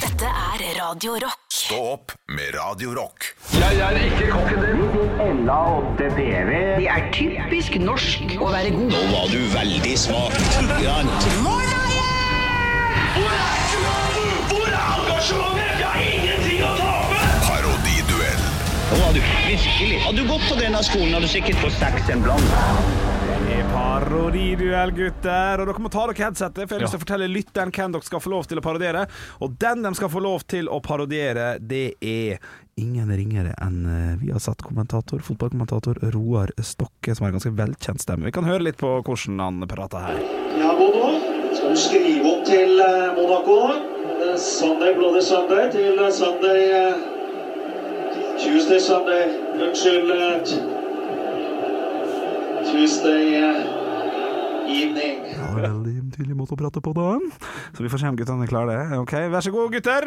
S2: Dette er Radio Rock.
S1: Stå opp med Radio Rock.
S10: Det er typisk norsk å være god.
S1: Parodiduell.
S5: Det er parodiduell, gutter. Og dere må ta dere headsetet, for jeg har lyst til å fortelle lytteren hvem dere skal få lov til å parodiere. Og den de skal få lov til å parodiere, det er ingen ringere enn eh, vi har satt kommentator, fotballkommentator Roar Stokke, som har en ganske velkjent stemme. Vi kan høre litt på hvordan han prater her.
S9: Ja, Bono. Skal du skrive opp til eh, Monaco nå? Eh, Sunday Bloody Sunday til eh, Sunday eh, Tuesday Sunday. Unnskyld eh, t- Tuesday eh, evening.
S5: Ja, det er veldig tydelig måte å prate på, da. Så vi får se om guttene klarer det. Ok, Vær så god, gutter.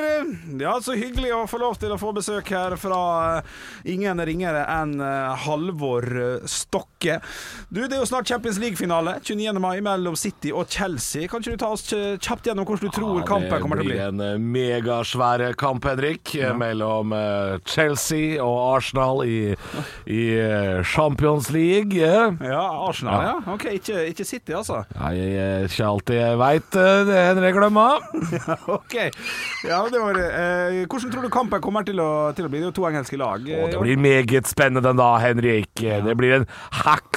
S5: Ja, Så hyggelig å få lov til å få besøk her fra eh, ingen ringere enn eh, Halvor eh, Stokke. Du, Det er jo snart Champions League-finale. 29. mai mellom City og Chelsea. Kan ikke du ta oss kj- kjapt gjennom hvordan du tror kampen kommer til å bli?
S4: Det blir en eh, megasvær kamp, Henrik, mellom eh, Chelsea og Arsenal i, i eh, Champions League. eh.
S5: Ja, Arsenal, ja. Ok, ikke, ikke City, altså.
S4: Nei, jeg er ikke alltid jeg veit det, Henrik Glemma.
S5: Ok. Ja, det var det. Eh, hvordan tror du kampen kommer til å, til å bli? Det er jo to engelske lag.
S4: Og det blir meget spennende da, Henrik. Det blir en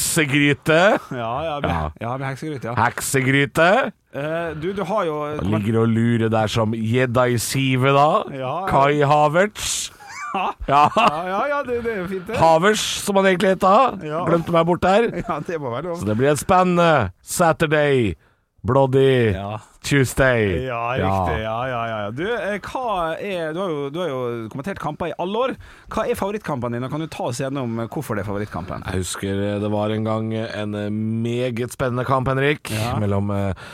S4: heksegryte.
S5: Ja, ja, vi, ja.
S4: Ja.
S5: vi hekser ut, ja.
S4: Heksegryte.
S5: Eh, du, du har jo
S4: Han ligger og lurer der som gjedda i sivet, da.
S5: Ja, ja.
S4: Kai Havertz. Ja.
S5: Ja, ja, ja det, det er jo fint, det.
S4: Havers, som han egentlig heter.
S5: Ja.
S4: Glemte meg bort der.
S5: Ja, det må være lov.
S4: Så det blir et spennende Saturday, Bloody
S5: Ja.
S4: Tuesday.
S5: Ja, riktig. Ja, ja, ja. ja. Du, eh, hva er, du, har jo, du har jo kommentert kamper i alle år. Hva er favorittkampen din, og kan du ta oss gjennom eh, hvorfor det er favorittkampen?
S4: Jeg husker eh, det var en gang en eh, meget spennende kamp, Henrik, mellom eh,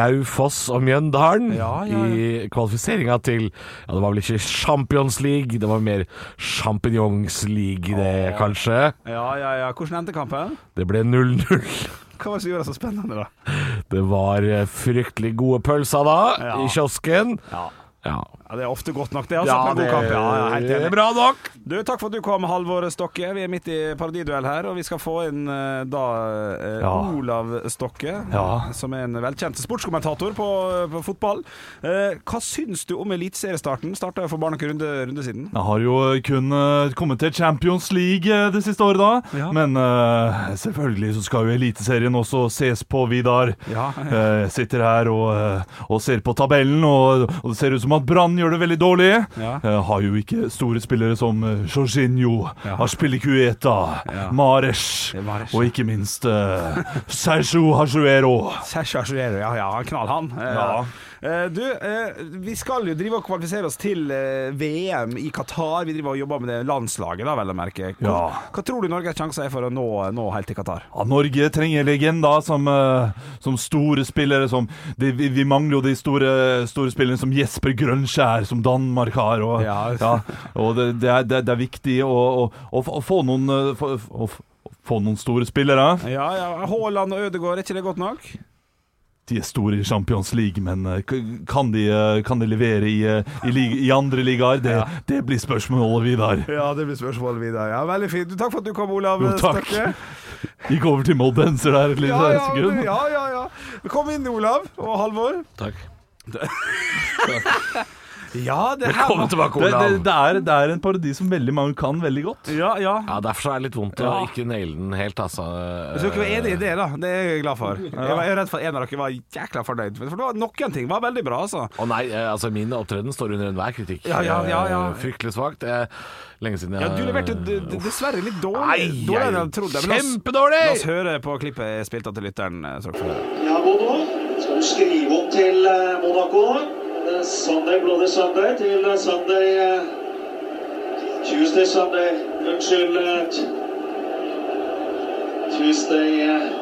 S4: Raufoss og Mjøndalen
S5: Ja, ja, ja.
S4: i kvalifiseringa til Ja, det var vel ikke Champions League, det var mer Champignons League, det, kanskje.
S5: Ja, ja, ja. Hvordan endte kampen?
S4: Det ble 0-0.
S5: Hva var det som gjorde det så spennende, da?
S4: Det var eh, fryktelig gode pølser da,
S5: Ja.
S4: i kiosken.
S5: Ja.
S4: Ja.
S5: ja, Det er ofte godt nok, det. Altså, på en god kamp. Ja, ja, helt
S4: det
S5: enig.
S4: er bra nok.
S5: Du, Takk for at du kom, Halvor Stokke. Vi er midt i parodiduell her, og vi skal få inn eh, da eh,
S4: Ja.
S5: Olav Stokke,
S4: Ja.
S5: som er en velkjent sportskommentator på, på fotball. Eh, hva syns du om eliteseriestarten? Starta for bare noen runde, runde siden.
S3: Jeg har jo kun eh, kommentert Champions League eh, det siste året, da.
S5: Ja.
S3: Men eh, selvfølgelig så skal jo Eliteserien også ses på, Vidar.
S5: Ja.
S3: Eh, sitter her og, eh, og ser på tabellen, og, og det ser ut som at Brann gjør det veldig dårlig.
S5: Ja.
S3: Eh, har jo ikke store spillere som eh, Jorginho,
S5: Ja.
S3: Aspilicueta, Mares,
S5: er Mahrez,
S3: og ikke minst uh, Sergio Hajuero.
S5: Sasha Aguero, ja, ja, han knall han. Eh,
S3: Ja.
S5: eh, du, eh, vi skal jo drive og kvalifisere oss til eh, VM i Qatar. Vi driver og jobber med det landslaget, da, vel å merke. Hva,
S3: Ja.
S5: hva tror du Norges sjanser er for å nå, nå helt til Qatar?
S3: Ja, Norge trenger legender som, eh, som store spillere. Som, de, vi, vi mangler jo de store, store spillerne som Jesper Grønskjær, som Danmark har. Og,
S5: Ja.
S3: og det, det, er, det, er- det er viktig å, å, å, å få noen eh, få, å, f- få noen store spillere.
S5: Ja, ja, Haaland og Ødegaard, er ikke det godt nok?
S3: De er store i Champions League, men eh, k- kan de, eh, kan de levere i, eh, i, lig- i andre ligaer? Det, det blir spørsmålet, Vidar.
S5: Ja, det blir spørsmål, Vidar. Ja, veldig fint. Du, Takk for at du kom, Olav
S3: Jo, takk.
S5: Stokke.
S3: Gikk over til Moldenser der et
S5: Ja,
S3: lite
S5: ja, du,
S3: sekund.
S5: ja, ja, ja. Kom inn, Olav og Halvor.
S4: Takk.
S5: Ja, det her
S4: Velkommen tilbake,
S3: Det,
S4: Olav.
S3: det, det, er, det er en parodi som veldig mange kan veldig godt.
S5: Ja, ja.
S4: Ja, Derfor så er det litt vondt å ikke naile den helt, altså.
S5: Så dere var enige i det, da. Det er jeg glad for. Jeg var jeg er redd for at en av dere var jækla fornøyd. For det var noen ting var veldig bra, altså.
S4: Å nei, eh, altså min opptreden står under enhver kritikk.
S5: Ja, ja, ja, ja.
S4: Eh, Fryktelig svakt. Eh, Lenge siden jeg
S5: Ja, du leverte d- d- dessverre litt dårlig.
S4: Nei,
S5: dårligere
S4: jeg-
S5: enn jeg trodde. Men la oss-
S4: kjempedårlig!
S5: La oss høre på klippet jeg spilte av til lytteren. eh, Så dere får høre.
S9: Ja, Bono, skal du skrive om til eh, Monaco nå? Eh, Sunday, Bloody Sunday til eh, Sunday eh, Tuesday, Sunday Unnskyld eh, t- Tuesday eh,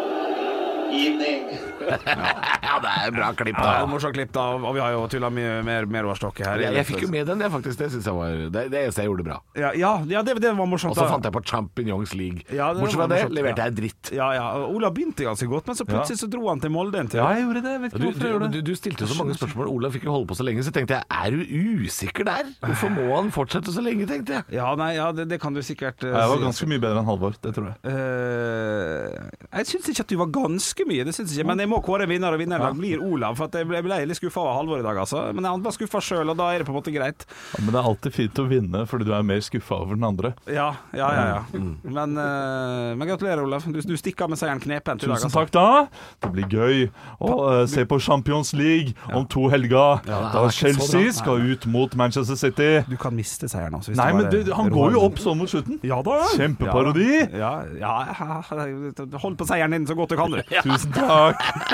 S9: evening.
S4: Ja, det er bra klipp,
S5: Ja, det var
S4: da.
S5: morsomt klipp, da. Og vi har jo tulla mye mer med Roar Stokke her.
S4: Jeg, jeg fikk jo med den, jeg, faktisk. Det synes jeg var det, det eneste jeg gjorde bra.
S5: Ja, ja, ja det, det var morsomt.
S4: Og
S1: Altså,
S4: så
S5: da.
S4: fant jeg på Champignons League.
S5: Ja, det
S4: Bortsett
S5: var
S4: fra det
S5: morsomt.
S4: leverte
S5: Ja.
S4: jeg dritt.
S5: Ja, ja. og Olav begynte ganske godt, men så plutselig så dro han til Molde en tur.
S3: Ja, jeg gjorde det. Jeg vet
S4: Du,
S3: ikke hvorfor jeg
S4: du,
S3: gjorde det.
S4: du, du stilte jo så mange spørsmål. Olav fikk jo holde på så lenge, så tenkte jeg er du usikker der? Hvorfor må han fortsette så lenge, tenkte jeg.
S5: Ja, nei, ja, det, det kan du sikkert eh,
S3: Jeg
S5: si.
S3: var ganske mye bedre enn Halvor, det tror jeg.
S5: Eh, jeg syns ikke at du var ganske mye, det synes jeg ikke, men jeg må kåre en vinner, og vinneren i dag blir Olav. For at jeg ble, jeg ble litt skuffa av Halvor i dag, altså. Men han var skuffa sjøl, og da er det på en måte greit.
S3: Ja, men det er alltid fint å vinne fordi du er mer skuffa over den andre.
S5: Ja, ja, ja. ja.
S3: Mm.
S5: Men, eh, men gratulerer, Olav. Du, du stikker av med seieren knepent i dag.
S3: Tusen
S5: Altså.
S3: takk, da. Det blir gøy å eh, se på Champions League om to helger.
S4: det
S3: Da
S4: er ikke så bra. Nei,
S3: Chelsea skal ut mot Manchester City.
S5: Du kan miste seieren også. hvis
S3: Nei,
S5: du
S3: men
S5: bare
S3: det, han
S5: rår
S3: går jo
S5: deg.
S3: opp sånn mot slutten.
S5: Ja da.
S3: Kjempeparodi.
S5: Ja, ja, ja, hold på seieren din så godt du kan, du.
S3: Tusen takk.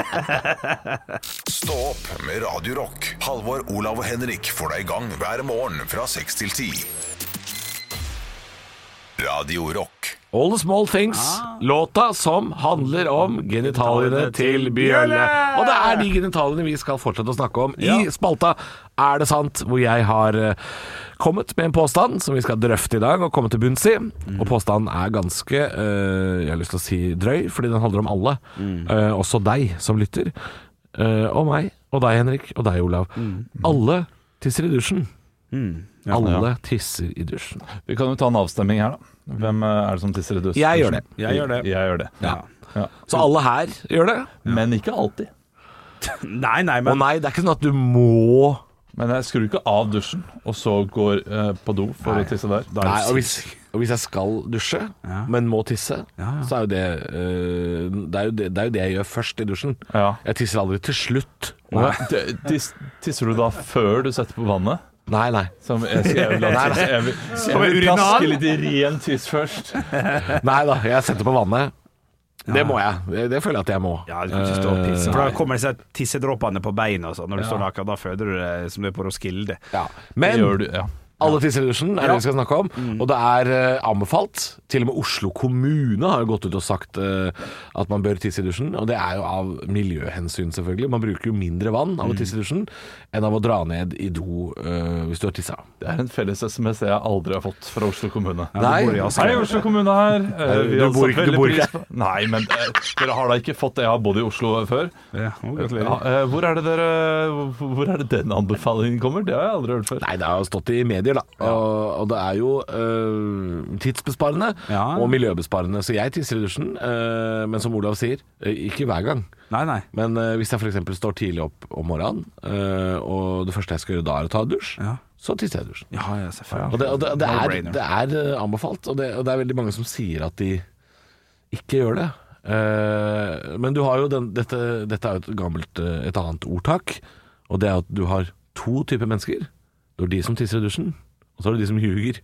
S1: Stå opp med Radio Rock. Halvor, Olav og Henrik får deg i gang hver morgen fra 6 til 10. Radio Rock.
S4: All the small things, låta som handler om genitaliene Ah. til Bjølle. Og det er de genitaliene vi skal fortsette å snakke om i spalta Er det sant? Hvor jeg har eh, kommet med en påstand som vi skal drøfte i dag og komme til bunns i. Og påstanden er ganske, eh, jeg har lyst til å si drøy, fordi den handler om alle. Eh, også deg som lytter. eh, og meg, og deg Henrik, og deg Olav. Alle tisser i dusjen. Mm. Alle tisser i dusjen.
S3: Vi kan jo ta en avstemning her, da. Hvem eh, er det som tisser i dus- dusjen?
S4: Jeg gjør det.
S5: Jeg gjør det.
S3: Jeg gjør det.
S5: Ja.
S3: Ja.
S4: Så alle her gjør det.
S3: Men ikke alltid.
S5: Nei, nei,
S4: Å
S5: men
S4: nei, det er ikke sånn at du må
S3: Men jeg skrur ikke av dusjen, og så går eh, på do for å tisse der.
S4: Nei, og hvis, og hvis jeg skal dusje, men må tisse, så er jo det, øh, det, er jo det Det er jo det jeg gjør først i dusjen.
S3: Ja.
S4: Jeg tisser aldri til slutt.
S3: Nei, det- tis- Tisser du da før du setter på vannet?
S4: Nei, nei.
S3: Som jeg skal jeg vil la
S4: Nei, nei.
S3: tisse. Jeg vil, jeg vil plaske litt i ren tiss først.
S4: Nei da, jeg setter på vannet. Det må jeg. Det, det føler jeg at jeg må.
S5: ja, du kan ikke stå og
S4: Eh,
S5: pisse. For Da kommer disse tissedråpene på beina og sånn når du står naken. Da føler du deg som du er på Roskilde.
S4: Ja.
S3: Det
S4: Men
S3: gjør du, ja.
S4: alle tisser i dusjen er det vi skal snakke om, og det er eh, anbefalt. Til og med Oslo kommune har jo gått ut og sagt eh, at man bør tisse i dusjen, og det er jo av miljøhensyn, selvfølgelig. Man bruker jo mindre vann av å tisse i dusjen enn av å dra ned i do eh, hvis du har tissa.
S3: Det er en felles SMS jeg aldri har fått fra Oslo kommune.
S4: Nei.
S5: Du bor i
S3: Hei,
S5: Asker.
S3: Oslo kommune her. Eh,
S4: Du
S3: har
S4: bor
S3: satt
S4: ikke- du
S3: veldig
S4: bor
S3: pris
S4: ikke-
S3: på- Nei, men eh, dere har da ikke fått det. Jeg har bodd i Oslo før.
S5: Ja, å,
S3: Ja,
S5: gratulerer.
S3: eh, hvor er det dere Hvor er det den anbefalingen kommer? Det har jeg aldri hørt før.
S4: Nei, det har jo stått i medier, da. Og, og det er jo øh, tidsbesparende
S5: Ja.
S4: og miljøbesparende. Så jeg tisser i dusjen, øh, men som Olav sier, øh, ikke hver gang.
S5: Nei, nei.
S4: Men øh, hvis jeg f.eks. står tidlig opp om morgenen, øh, og det første jeg skal gjøre da er å ta en dusj,
S5: Ja.
S4: så tisser jeg i dusjen.
S5: Ja, ja,
S4: Og det, og det, det, er,
S5: No-brainer.
S4: det er øh, anbefalt, og det, og det er veldig mange som sier at de ikke gjør det. Eh, men du har jo den, dette, dette er jo et gammelt eh, et annet ordtak, og det er at du har to typer mennesker. Du har de som tisser i dusjen, og så har du de som ljuger.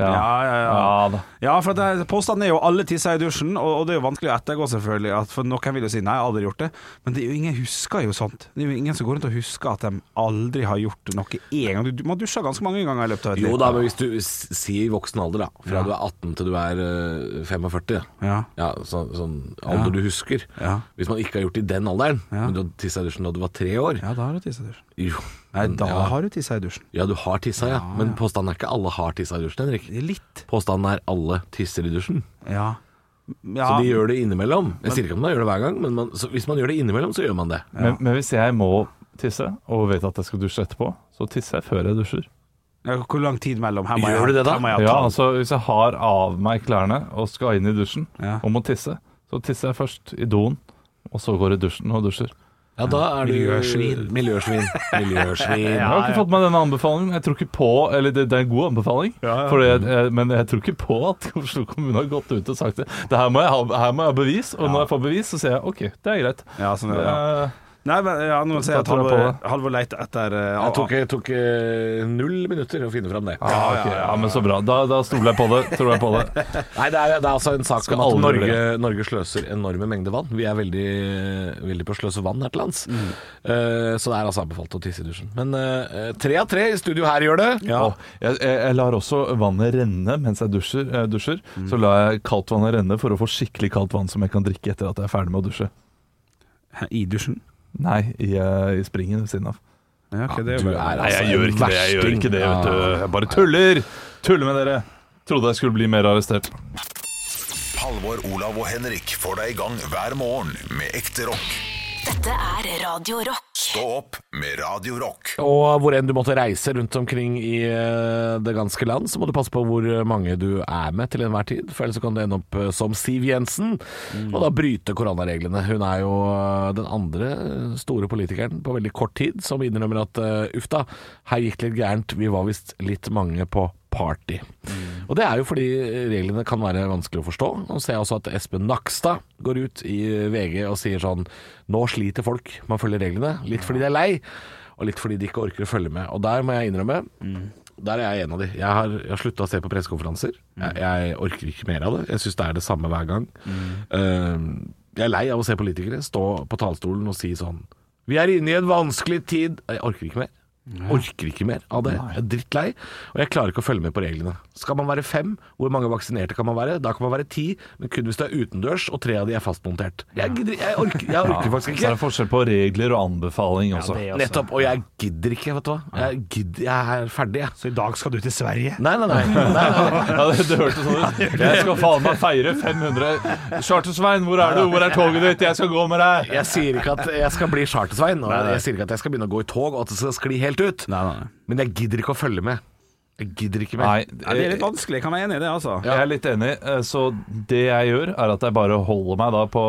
S5: Ja, ja, ja.
S3: Ja da.
S5: Ja, for at det, påstanden er jo alle tisser i dusjen, og, og det er jo vanskelig å ettergå, selvfølgelig. At, for noen vil jo si nei, jeg har aldri gjort det. Men det er jo ingen husker jo sånt. Det er jo ingen som går rundt og husker at de aldri har gjort noe én gang. Du, du må dusje ganske mange ganger i løpet av et
S4: Jo
S5: liv.
S4: da, men hvis du s- sier voksen alder, da. Fra du er 18 til du er eh, 45.
S5: Ja.
S4: Ja, så, sånn alder du husker.
S5: Ja.
S4: Hvis man ikke har gjort det i den alderen,
S5: Ja.
S4: men du har tissa i dusjen da du var tre år
S5: ja, da har du tissa i dusjen.
S4: Jo,
S5: Nei,
S4: men
S5: da
S4: ja,
S5: har du tissa i dusjen.
S4: ja, du har tissa, ja. Men påstanden er ikke alle har tissa i dusjen, Henrik.
S5: Litt.
S4: Påstanden er alle tisser i dusjen.
S5: Ja. ja.
S4: Så de gjør det innimellom. Jeg sier ikke om man gjør det hver gang, men man, så hvis man gjør det innimellom, så gjør man det.
S3: Men, men hvis jeg må tisse, og vet at jeg skal dusje etterpå, så tisser jeg før jeg dusjer.
S5: Ja, Hvor lang tid mellom? Her må
S4: Gjør
S5: jeg,
S4: du det da?
S5: Her må jeg
S3: Ja,
S5: ta-
S3: altså Hvis jeg har av meg klærne og skal inn i dusjen
S5: Ja.
S3: og må tisse, så tisser jeg først i doen, og så går jeg i dusjen og dusjer.
S4: Ja, da er du
S5: Miljøsvin.
S4: Miljøsvin. Miljøsvin.
S3: Jeg har ikke fått med denne anbefalingen. Jeg tror ikke på Eller det, det er en god anbefaling, fordi jeg- jeg- men jeg tror ikke på at Oslo kommune har gått ut og sagt det. Det her må jeg ha, her må jeg ha bevis, og når jeg får bevis, så sier jeg OK, det er greit.
S5: Ja, sånn er det, ja.
S3: Eh,
S5: Nei, men ja, nå ser jeg at
S3: Da tar jeg
S5: Halvor
S3: på
S5: Halvor leter etter eh,
S4: Jeg tok, jeg tok eh, null minutter å finne fram det.
S3: ja, ok. ja, men så bra. Da, da stoler jeg på det. Tror jeg på det.
S4: Nei, det er, det er altså en sak
S3: Skal
S4: om at
S3: aldri
S4: Norge,
S3: gjøre
S4: Norge sløser enorme mengder vann. Vi er veldig, veldig på å sløse vann her til lands. Eh, så det er altså anbefalt å tisse i dusjen. Men eh, tre av tre i studio her gjør det.
S3: Og Jeg, jeg, jeg lar også vannet renne mens jeg dusjer. eh, dusjer Så lar jeg kaldtvannet renne for å få skikkelig kaldt vann som jeg kan drikke etter at jeg er ferdig med å dusje.
S5: Hæ, I dusjen?
S3: Nei, i, eh, i springen ved siden av.
S5: Ja, ok, det er
S4: Du
S5: jo
S4: er
S5: bare-
S4: altså
S3: Nei, jeg gjør
S4: en
S3: ikke det. Jeg gjør
S4: versting.
S3: ikke det, vet du.
S4: Ja.
S3: Jeg bare tuller! Tuller med dere. Trodde jeg skulle bli mer arrestert.
S1: Halvor, Olav og Henrik får deg i gang hver morgen med ekte rock.
S2: Dette er Radio Rock.
S1: Stå opp med Radio Rock.
S4: Og hvor enn du måtte reise rundt omkring i eh, det ganske land, så må du passe på hvor mange du er med til enhver tid. For ellers så kan du ende opp eh, som Siv Jensen, og da bryte koronareglene. Hun er jo eh, den andre eh, store politikeren på veldig kort tid som innrømmer at eh, uff da, her gikk det litt gærent. Vi var visst litt mange på party. Og det er jo fordi reglene kan være vanskelig å forstå. Nå ser jeg også at Espen Nakstad går ut i VG og sier sånn Nå sliter folk med å følge reglene. Litt fordi de er lei, og litt fordi de ikke orker å følge med. Og der må jeg innrømme Der er jeg en av de. Jeg har, jeg har slutta å se på pressekonferanser. Jeg, jeg orker ikke mer av det. Jeg syns det er det samme hver gang. Eh, jeg er lei av å se politikere stå på talerstolen og si sånn Vi er inne i en vanskelig tid. Jeg orker ikke mer. Orker ikke mer av det. Jeg er drittlei, og jeg klarer ikke å følge med på reglene. Skal man være fem, hvor mange vaksinerte kan man være? Da kan man være ti, men kun hvis det er utendørs, og tre av de er fastmontert. Jeg, gidder, jeg, orker, jeg orker
S3: Så
S4: faktisk
S3: er
S4: ikke.
S3: det forskjell på regler og anbefaling også.
S5: det er også-
S4: Nettopp. Og jeg gidder ikke, vet du hva. Jeg, gidder, jeg er ferdig, jeg.
S5: Så i dag skal du til Sverige?
S4: Nei, nei, nei. nei, nei.
S3: Ja, det, det hørtes sånn ut. Jeg skal faen meg feire 500 Charter-Svein, hvor er du? Hvor er toget ditt? Jeg skal gå med deg!
S4: Jeg sier ikke at jeg skal bli Chartersvein, og jeg sier ikke at jeg skal begynne å gå i tog, og at det skal skli helt ut.
S5: Nei, nei, nei.
S4: Men jeg gidder ikke å følge med. Jeg gidder ikke
S3: Nei, eh,
S4: mer.
S5: Ja, det er litt vanskelig, jeg kan være enig i det, altså.
S3: jeg er litt enig. eh, Så det jeg gjør, er at jeg bare holder meg da på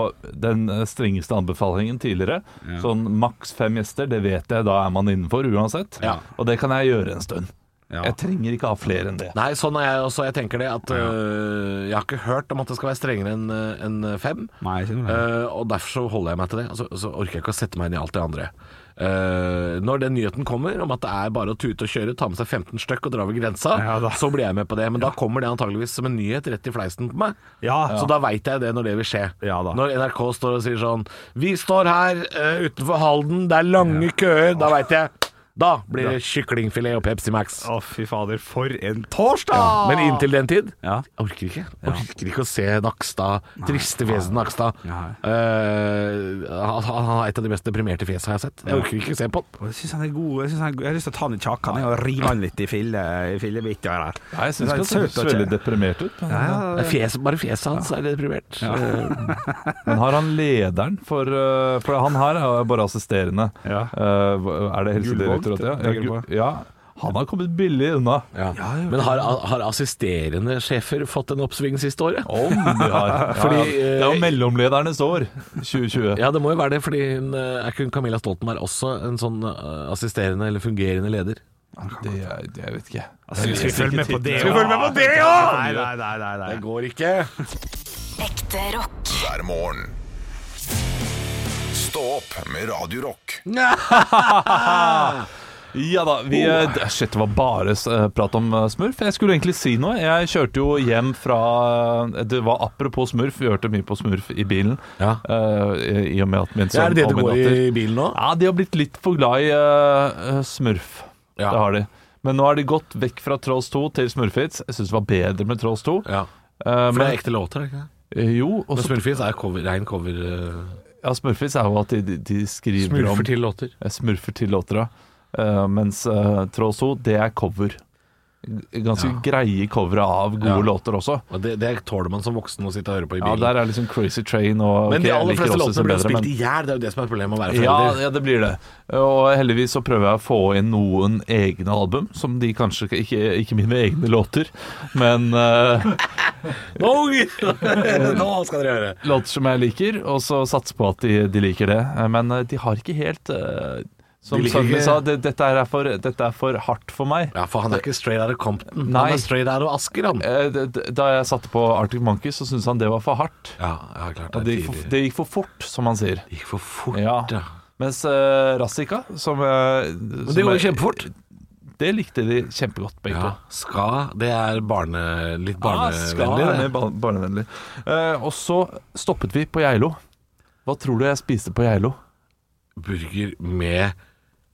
S3: den eh, strengeste anbefalingen tidligere. Sånn maks fem gjester, det vet jeg, da er man innenfor uansett.
S4: Ja.
S3: Og det kan jeg gjøre en stund.
S5: Ja.
S3: Jeg trenger ikke ha flere enn det.
S4: Nei, sånn er jeg også. Jeg tenker det at øh, Jeg har ikke hørt om at det skal være strengere enn øh, enn fem.
S5: Nei, ikke noe.
S4: Øh, og derfor så holder jeg meg til det. Og så, så orker jeg ikke å sette meg inn i alt det andre. Øh, når den nyheten kommer om at det er bare å tute og kjøre, ta med seg 15 stykk og dra over grensa,
S5: Ja, da.
S4: så blir jeg med på det. Men da kommer det antageligvis som en nyhet rett i fleisen på meg.
S5: Ja.
S4: Så da veit jeg det når det vil skje.
S5: Ja, da.
S4: når NRK står og sier sånn Vi står her eh, utenfor Halden, det er lange køer. Da veit jeg. Da blir det kyklingfilet og Pepsi Max.
S5: Å, fy fader, for en torsdag!
S4: Men inntil den tid
S5: Ja.
S4: Jeg orker ikke. Jeg orker ikke å se Nakstad. Triste fjeset Nakstad.
S5: Nei.
S4: Eh, han han har et av de mest deprimerte fjesene jeg har sett. Jeg orker ikke se på den.
S5: Og Jeg syns han er god. Jeg, synes han er god. jeg har lyst til å ta han i kjakan jeg, og rive han litt i fille, i fillebiter her.
S3: Nei, jeg syns ikke
S5: Det er
S3: at det
S5: søt
S3: høres
S5: og
S3: veldig
S5: kjære.
S3: deprimert ut. Men,
S4: Det er fjes, bare fjeset hans er deprimert. Eh,
S3: men har han lederen for eh, For han her er jo bare assisterende.
S5: Ja.
S3: Eh, hva- Er det
S5: Gullvåg,
S3: Helsedirektoratet? Ja?
S5: tenker
S3: Ja,
S5: du
S3: gu-
S5: på?
S3: ja. Han har kommet billig unna.
S4: ja. Men har, har assisterende sjefer fått en oppsving siste året?
S3: Om de har. ja, ja.
S4: Fordi,
S3: Det er
S4: eh,
S3: jo mellomledernes år, 2020.
S4: Ja, det må jo være det, fordi hun, eh, er ikke hun Camilla Stoltenberg også en sånn eh, assisterende eller fungerende leder?
S3: Det, er- det jeg vet ikke.
S5: Skal Altså, vi følge med på det? Skal vi følge med på det, ja! Nei, nei, nei, nei, nei.
S4: går ikke.
S2: Ekte rock.
S1: hver morgen. Stå opp med Radio Rock.
S3: Ja da, vi, eh, d- Shit, det var bare s- eh, prat om eh, smurf. Jeg skulle egentlig si noe. Jeg kjørte jo hjem fra eh, Det var apropos smurf, vi hørte mye på smurf i bilen.
S4: Ja.
S3: eh, i, I og med at min sønn
S4: er det det
S3: og
S4: du
S3: min
S4: går
S3: datter-
S4: i bilen nå?
S3: Ja, de har blitt litt for glad i eh, eh, smurf.
S4: Ja.
S3: Det har de. Men nå har de gått vekk fra Trolls 2 til Smurfhits. Jeg syns det var bedre med Trolls 2.
S4: Ja.
S3: Eh,
S4: For det er
S3: men,
S4: ekte låter, er det ikke det?
S3: jo, og
S4: Men
S3: så-
S4: Smurfis er cover, rein cover eh,
S3: ja, Smurfhits er jo at de, de, de skriver om
S4: Smurfer til låter.
S3: Jeg smurfer til låter da. Eh, mens uh, Trolls 2, det er cover. G- Ganske greie covere av gode
S4: Ja.
S3: låter også.
S4: Og det, det tåler man som voksen å sitte og høre på i
S3: Ja,
S4: bilen.
S3: der er liksom Crazy Train og
S4: men
S3: ok,
S4: de
S3: jeg
S4: aller
S3: liker Roses
S4: fleste låtene blir jo
S3: bedre,
S4: spilt
S3: men-
S4: i hjel, det er jo det som er problemet med å være
S3: ja,
S4: forelder.
S3: ja, det blir det. Og heldigvis så prøver jeg å få inn noen egne album, som de kanskje Ikke, ikke mine egne låter, men eh,
S4: Nå skal dere høre!
S3: låter som jeg liker, og så satse på at de, de liker det. Eh, Men eh, de har ikke helt eh, Som
S4: De liker
S3: Sanne
S4: ikke-
S3: sa, det, dette, er for, dette er for hardt for meg.
S4: Ja, for han er ikke straight out of Compton.
S3: Nei.
S4: Han er straight out of Asker, han.
S3: Eh, d- d- Da jeg satte på Arctic Monkeys, så syntes han det var for hardt.
S4: Ja, ja klart.
S3: Og
S4: Det,
S3: det, gikk for, det gikk for fort, som han sier.
S4: gikk for fort, ja.
S3: Ja. Mens eh, Rassika, som, eh,
S4: Men det
S3: som
S4: går jo
S3: jeg-
S4: kjempefort.
S3: Det likte de kjempegodt, begge
S4: Ja,
S3: to.
S4: Ska, det er barne, litt
S3: Ja,
S4: barnevennlig.
S3: skal være
S4: det.
S3: bar- barnevennlig. Eh, og så stoppet vi på Geilo. Hva tror du jeg spiste på Geilo?
S4: Burger med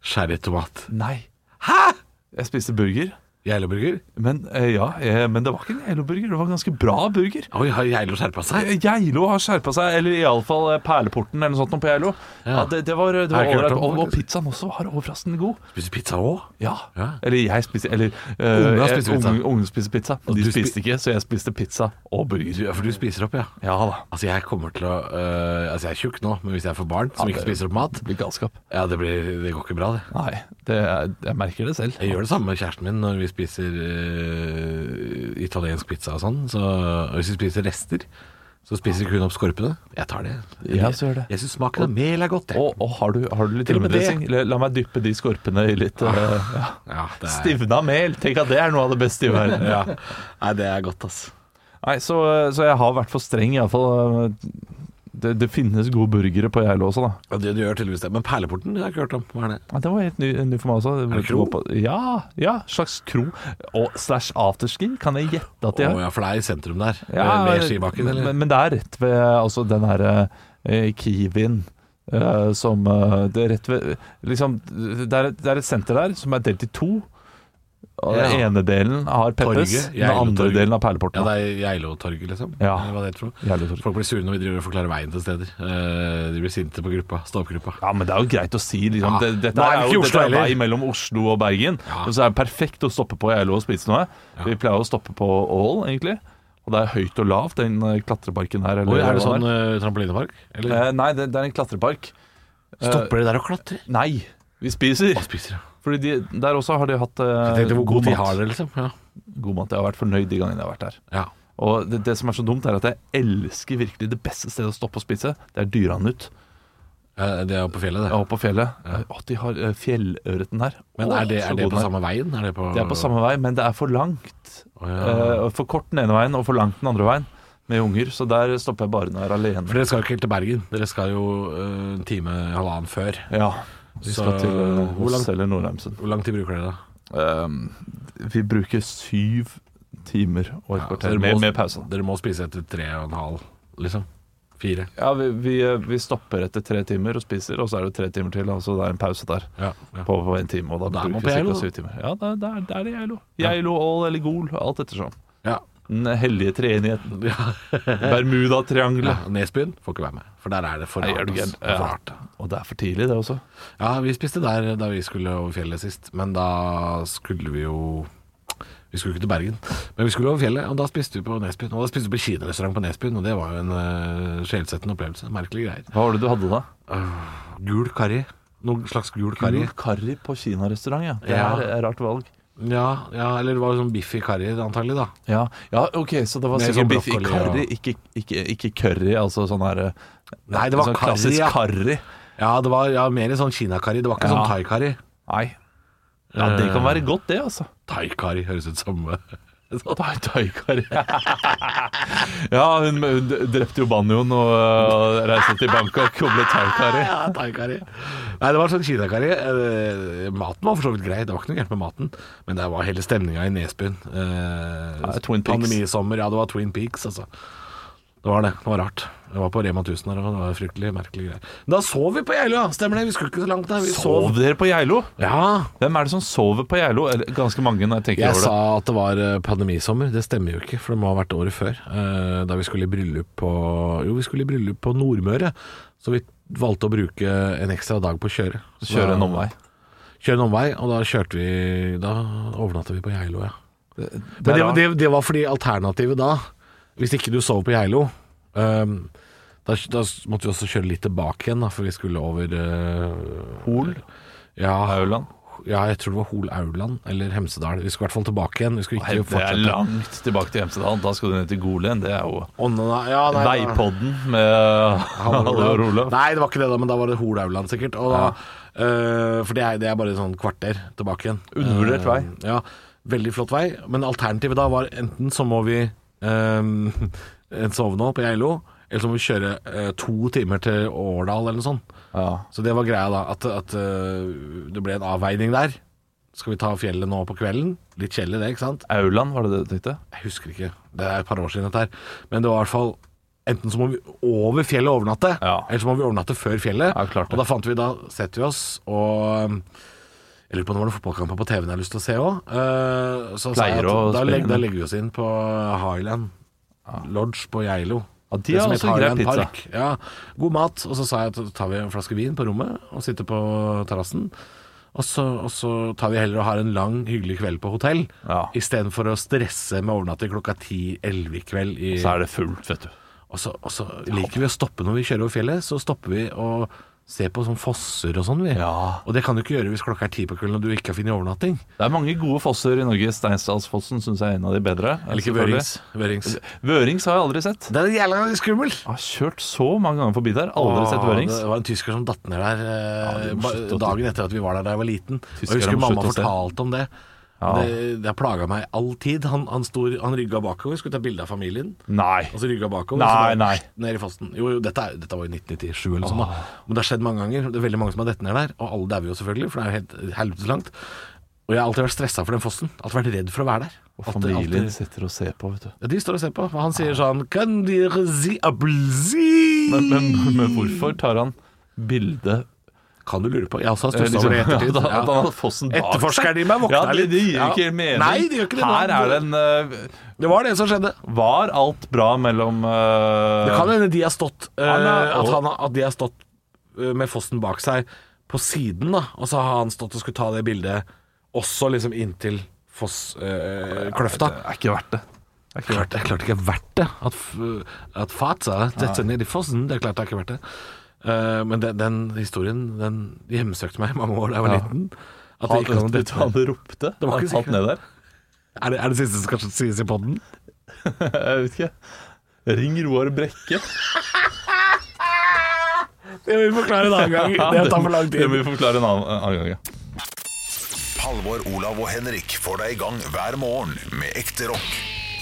S4: sherrytomat.
S3: Nei. Hæ?! Jeg spiste burger.
S4: Geileburger?
S3: Men eh, ja, eh, men det var ikke en Geilo-burger. Det var en ganske bra burger.
S4: Oi, har Geilo skjerpa seg?
S3: Eh, Geilo har skjerpa seg, eller iallfall eh, Perleporten eller noe sånt noe på Geilo. Ja.
S4: Ja.
S3: det, det var, det
S4: Har
S3: var
S4: jeg ikke hørt
S3: ålreit.
S4: om,
S3: Og, og
S4: faktisk.
S3: pizzaen også var overraskende god.
S4: Spiser pizza òg?
S3: Ja.
S4: Ja.
S3: Eller jeg spiste Eller
S4: Ungene har
S3: eh,
S4: spist pizza.
S3: ungen- ungen spiste pizza.
S4: Og
S3: De
S4: du spi-
S3: spiste ikke, så jeg spiste pizza og burger.
S4: Ja, for du spiser opp, ja.
S3: Ja da.
S4: Altså, jeg kommer til å øh, Altså, jeg er tjukk nå, men hvis jeg får barn som
S3: Ja,
S4: ikke
S3: det-
S4: spiser opp mat
S3: Det blir galskap.
S4: Ja, det, blir, det går ikke bra, det.
S3: Nei, det, er- jeg merker det selv.
S4: Jeg gjør det samme med kjæresten min når vi spiser øh, italiensk pizza og sånn. Så og hvis vi spiser rester, så spiser ikke hun opp skorpene. Jeg tar det.
S3: Jeg også gjør det.
S4: Jeg syns smaken av mel er godt, jeg.
S3: Og, og har, du, har du litt
S4: Til og med det.
S3: rømmedressing? La, la meg dyppe de skorpene i litt eh, ja.
S4: Ja, det er,
S3: Stivna mel! Tenk at det er noe av det beste i verden.
S4: Ja. Nei, det er godt, ass.
S3: Nei, så, så jeg har vært for streng, iallfall. Det, det finnes gode burgere på Geilo også, da.
S4: Ja, det du gjør tydeligvis det. Men perleporten det har jeg ikke hørt om. Hva er det?
S3: Ja, det var helt ny, ny for meg også. Er
S4: det kro?
S3: Ja, ja, slags kro. Og slash afterski, kan jeg gjette at de
S4: Å
S3: har.
S4: ja, for det er i sentrum der.
S3: Ja,
S4: Ved skibakken, eller?
S3: men, men det er rett ved altså, den her eh, Kiwien eh, som eh, det, er rett ved, liksom, det, er, et- det er et senter der som er delt i to. Og Den
S4: Ja.
S3: ene delen har Peppes,
S4: Torget,
S3: den andre
S4: Geiletorget.
S3: delen har
S4: Ja,
S3: Perleporten.
S4: det er Geilotorget, liksom.
S3: Ja.
S4: Eller Hva det heter for noe.
S3: Geiletorget.
S4: Folk blir sure når vi driver og forklarer veien til steder. Eh, De blir sinte på gruppa, stå-opp-gruppa.
S3: Ja, men det er jo greit å si. Liksom.
S4: Ja.
S3: Det, dette
S4: Nå er det
S3: er,
S4: ikke
S3: jo
S4: Oslo
S3: dette er
S4: heller.
S3: vei mellom Oslo og Bergen. Og så er det perfekt å stoppe på Geilo og spise noe. Vi pleier å stoppe på Ål, egentlig. Og det er høyt og lavt, den eh, klatreparken her. eller
S4: Hvor er
S3: hva
S4: det sånn
S3: det er.
S4: eh, trampolinepark? Eller
S3: Eh, Nei, det, det er en klatrepark.
S4: stopper de der og klatrer?
S3: Nei, vi spiser.
S4: Og spiser, ja.
S3: Fordi de, der også har de hatt eh,
S4: Jeg tenkte hvor god tid
S3: mat.
S4: har dere, liksom. Ja.
S3: god mat. Jeg har vært fornøyd de gangene jeg har vært der.
S4: ja.
S3: Og det, det som er så dumt, er at jeg elsker virkelig det beste stedet å stoppe og spise. Det er Dyranut
S4: Eh, Det er oppe på fjellet, det.
S3: oppe på fjellet. Å, de har eh, fjellørreten her.
S4: Men
S3: Å,
S4: er det,
S3: så
S4: er det
S3: god den
S4: på samme veien? Er det på,
S3: Det er på samme vei, men det er for langt.
S4: Å, ja.
S3: Eh, for kort den ene veien og for langt den andre veien med unger. Så der stopper jeg bare når jeg er alene.
S4: For dere skal jo ikke helt til Bergen. Dere skal jo eh, en time, halvannen før.
S3: Ja, Vi
S4: Så,
S3: skal til eh,
S4: hvor
S3: Hos
S4: langt- Ehm,
S3: eller Nordheimsen.
S4: Hvor lang tid bruker dere da?
S3: Eh, vi bruker syv timer og et
S4: Ja, så
S3: kvarter
S4: dere
S3: med,
S4: må-
S3: med pause.
S4: Dere må spise etter tre og en halv, liksom. Fire.
S3: Ja, vi, vi, eh, vi stopper etter tre timer og spiser, og så er det tre timer til. Og så det er en pause der.
S4: Ja, ja.
S3: På, på en time, og da
S4: Da er man
S3: bruker
S4: på
S3: vi
S4: Geilo,
S3: cirka
S4: da.
S3: syv timer. Ja, det, det, er, det er det Geilo. Geilo, Ål eller Gol, alt ettersom.
S4: ja.
S3: Den hellige treenigheten. Bermudatriangelet.
S4: Ja, Nesbyen får ikke være med, for der er det for
S3: Nei, er
S4: rart.
S3: du
S4: ass.
S3: gæren?
S4: Det er for
S3: Ja.
S4: rart, ja.
S3: Og det er for tidlig, det også.
S4: ja, vi spiste der da vi skulle over fjellet sist, men da skulle vi jo vi skulle ikke til Bergen, men vi skulle over fjellet, og da spiste vi på Nesbyen. Og da spiste vi på kinarestaurant på Nesbyen, og det var jo en uh, sjelsettende opplevelse. Merkelige greier.
S3: Hva var det du hadde da?
S4: Gul karri. Noen slags gul karri.
S3: Gul karri på kinarestaurant, ja. Det
S4: Ja.
S3: er et rart valg.
S4: Ja, ja, eller det var jo sånn biff i karri, antagelig, da.
S3: Ja, ja ok, så det var
S4: Med
S3: sikkert
S4: sånn
S3: biff i
S4: brokkoli og-
S3: karri, ikke, ikke, ikke curry, altså sånn her eh,
S4: Nei, det var
S3: sånn
S4: karri,
S3: klassisk
S4: ja.
S3: karri.
S4: Ja, det var ja, mer sånn kinakarri. Det var ikke
S3: Ja.
S4: sånn thaikarri.
S3: Nei. Ja, det kan
S4: Eh.
S3: være godt, det, altså.
S4: Thaikarri høres ut som
S3: Thai- Thai-karri. ja, hun, hun drepte jo banjoen og eh, reiste til Bangkok og ble thai-karri.
S4: Ja, thaikarri. Nei, det var sånn kinakarri. Eh, Maten var for så vidt grei, det var ikke noe gærent med maten. Men det var hele stemninga i Nesbyen. Eh,
S3: Ja, Twin Peaks.
S4: Pandemisommer. Ja, det var Twin Peaks, altså. Det var det. Det var rart. Jeg var på Rema 1000 her, og det var fryktelig merkelige greier. Da sov vi på Geilo, ja. Stemmer det? Vi skulle ikke så langt, da. Vi
S3: Sov dere på Geilo?
S4: Ja.
S3: Hvem er det som sover på Geilo? Eller, Ganske mange, når jeg tenker
S4: Jeg
S3: over
S4: sa
S3: det.
S4: at det var eh, pandemisommer. Det stemmer jo ikke, for det må ha vært året før. eh, Da vi skulle i bryllup på Jo, vi skulle i bryllup på Nordmøre. Så vi valgte å bruke en ekstra dag på å kjøre. Så
S3: Kjøre
S4: da-
S3: en omvei.
S4: Kjøre en omvei, og da kjørte vi Da overnatta vi på Geilo, ja.
S3: er
S4: Men det,
S3: rart.
S4: det, det var fordi alternativet da, hvis ikke du sov på Geilo ehm, da, da måtte vi også kjøre litt tilbake igjen, da, for vi skulle over eh,
S3: Hol,
S4: ja,
S3: Hauland.
S4: ja, jeg tror det var Hol Auland eller Hemsedal. Vi skulle i hvert fall tilbake igjen. Vi skulle
S3: Nei,
S4: ikke
S3: Det er
S4: fortsette.
S3: langt tilbake til Hemsedal. Da skal du ned til Golen. Det er jo
S4: Å, nei, ja, nei, nei.
S3: Veipodden med
S4: Han
S3: Halvor og Olav.
S4: Nei, det var ikke det, da, men da var det Hol Auland, sikkert. Og da, eh, for det er, det er bare sånn kvarter tilbake igjen.
S3: Undervurdert
S4: Eh,
S3: vei.
S4: Ja, veldig flott vei. Men alternativet da var enten så må vi eh, sove nå på Geilo, eller så må vi kjøre eh, to timer til Årdal eller noe sånt.
S3: Ja.
S4: Så det var greia, da. At, at eh, det ble en avveining der. Skal vi ta fjellet nå på kvelden? Litt kjedelig, det, ikke sant?
S3: Auland, var det det du tenkte?
S4: Jeg husker ikke, det er et par år siden dette her. Men det var i hvert fall Enten så må vi over fjellet og overnatte,
S3: Ja.
S4: eller så må vi overnatte før fjellet.
S3: Ja, klart det.
S4: og da fant vi da setter vi oss og um, Jeg lurer på om det var noen fotballkamper på TV-en jeg har lyst til å se òg. så sa jeg
S3: Pleier
S4: at
S3: å
S4: da,
S3: spille
S4: legger, da
S3: den.
S4: legger vi oss inn på Highland Lodge på Geilo.
S3: Ja, de
S4: Det
S3: har
S4: som
S3: også
S4: heter
S3: grei
S4: Highland
S3: pizza.
S4: Park. Ja, god mat. Og så sa jeg at da tar vi en flaske vin på rommet og sitter på terrassen. Og så, og så tar vi heller og har en lang, hyggelig kveld på hotell,
S3: Ja.
S4: istedenfor å stresse med overnatting klokka 10-11 i kveld. I,
S3: Så er det fullt, vet du.
S4: og så, og så liker vi å stoppe når vi kjører over fjellet, så stopper vi og ser på sånn fosser og sånn, vi.
S3: Ja.
S4: Og det kan du ikke gjøre hvis klokka er ti på kvelden og du ikke har funnet overnatting.
S3: Det er mange gode fosser i Norge. Steinsdalsfossen syns jeg er en av de bedre.
S4: Eller ikke
S3: selvfølgelig.
S4: Vørings. Vørings.
S3: Vørings har jeg aldri sett.
S4: Det er jævla skummel!
S3: Jeg har kjørt så mange ganger forbi der. Aldri sett Vørings.
S4: Det var en tysker som datt ned der eh,
S3: Ja, du må
S4: ba-
S3: slutte å-
S4: dagen etter at vi var der da jeg var liten. Og
S3: Tyskere
S4: jeg husker
S3: må
S4: mamma
S3: slutte å se.
S4: fortalte om det.
S3: Ja.
S4: Det, det har plaga meg all tid. Han, han, stod- han rygga bakover, skulle ta bilde av familien.
S3: Nei.
S4: Og så rygga bakover.
S3: Nei,
S4: og så bare
S3: nei. Ah.
S4: Ned i fossen. Jo, jo, dette, er, dette var i 1997 eller noe sånt. da. Men det har skjedd mange ganger. Det er veldig mange som har dett ned der. Og alle dauer jo selvfølgelig, for det er jo helt helvetes langt. Og jeg har alltid vært stressa for den fossen. Alltid vært redd for å være der.
S3: Og
S4: Alltid-
S3: familien Ah.
S4: alltid-
S3: sitter og ser på, vet du.
S4: Ja, de står og ser på. Og han sier sånn Kan dere si appelsin?
S3: Men, men, men hvorfor tar han bilde
S4: Eh, Kan du lure på? Jeg også har
S3: eh,
S4: stussa over det i
S3: ja,
S4: ettertid.
S3: da,
S4: Ja.
S3: at han hadde fossen bak
S4: Etterforskeren i meg våkna
S3: ja, det,
S4: litt.
S3: det gir
S4: Ja.
S3: ikke helt mening.
S4: Nei, det gjør ikke det.
S3: Her er det en eh,
S4: Det var det som skjedde.
S3: Var alt bra mellom eh,
S4: Det kan hende de har stått eh,
S3: Han er-
S4: at, han, har- at de har stått eh, med fossen bak seg på siden, da. Og så har han stått og skulle ta det bildet også liksom inntil eh, fosskløfta.
S3: Det er ikke verdt det.
S4: det er klart, det er klart ikke er verdt det. At, f- at Fata detter ned i fossen, det er klart det er ikke verdt det. Eh, men den, den historien den hjemsøkte meg i mange år da jeg var
S3: Ja.
S4: liten. At det
S3: Han,
S4: ikke kan
S3: vet du hva
S4: dette.
S3: han ropte?
S4: var
S3: han
S4: ikke
S3: falt
S4: sikkert.
S3: ned der?
S4: Er, det, er det siste som skal sies i podden?
S3: Jeg vet ikke. Ring Roar Brekke.
S4: Det må vi forklare en annen gang. Det tar for lang
S3: Det må
S4: tid.
S3: vi forklare en annen, en annen gang. Ja.
S1: Halvor, Olav og Henrik får deg i gang hver morgen med ekte rock.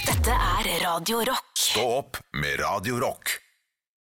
S2: Dette er Radio Rock.
S1: Stå opp med Radio Rock.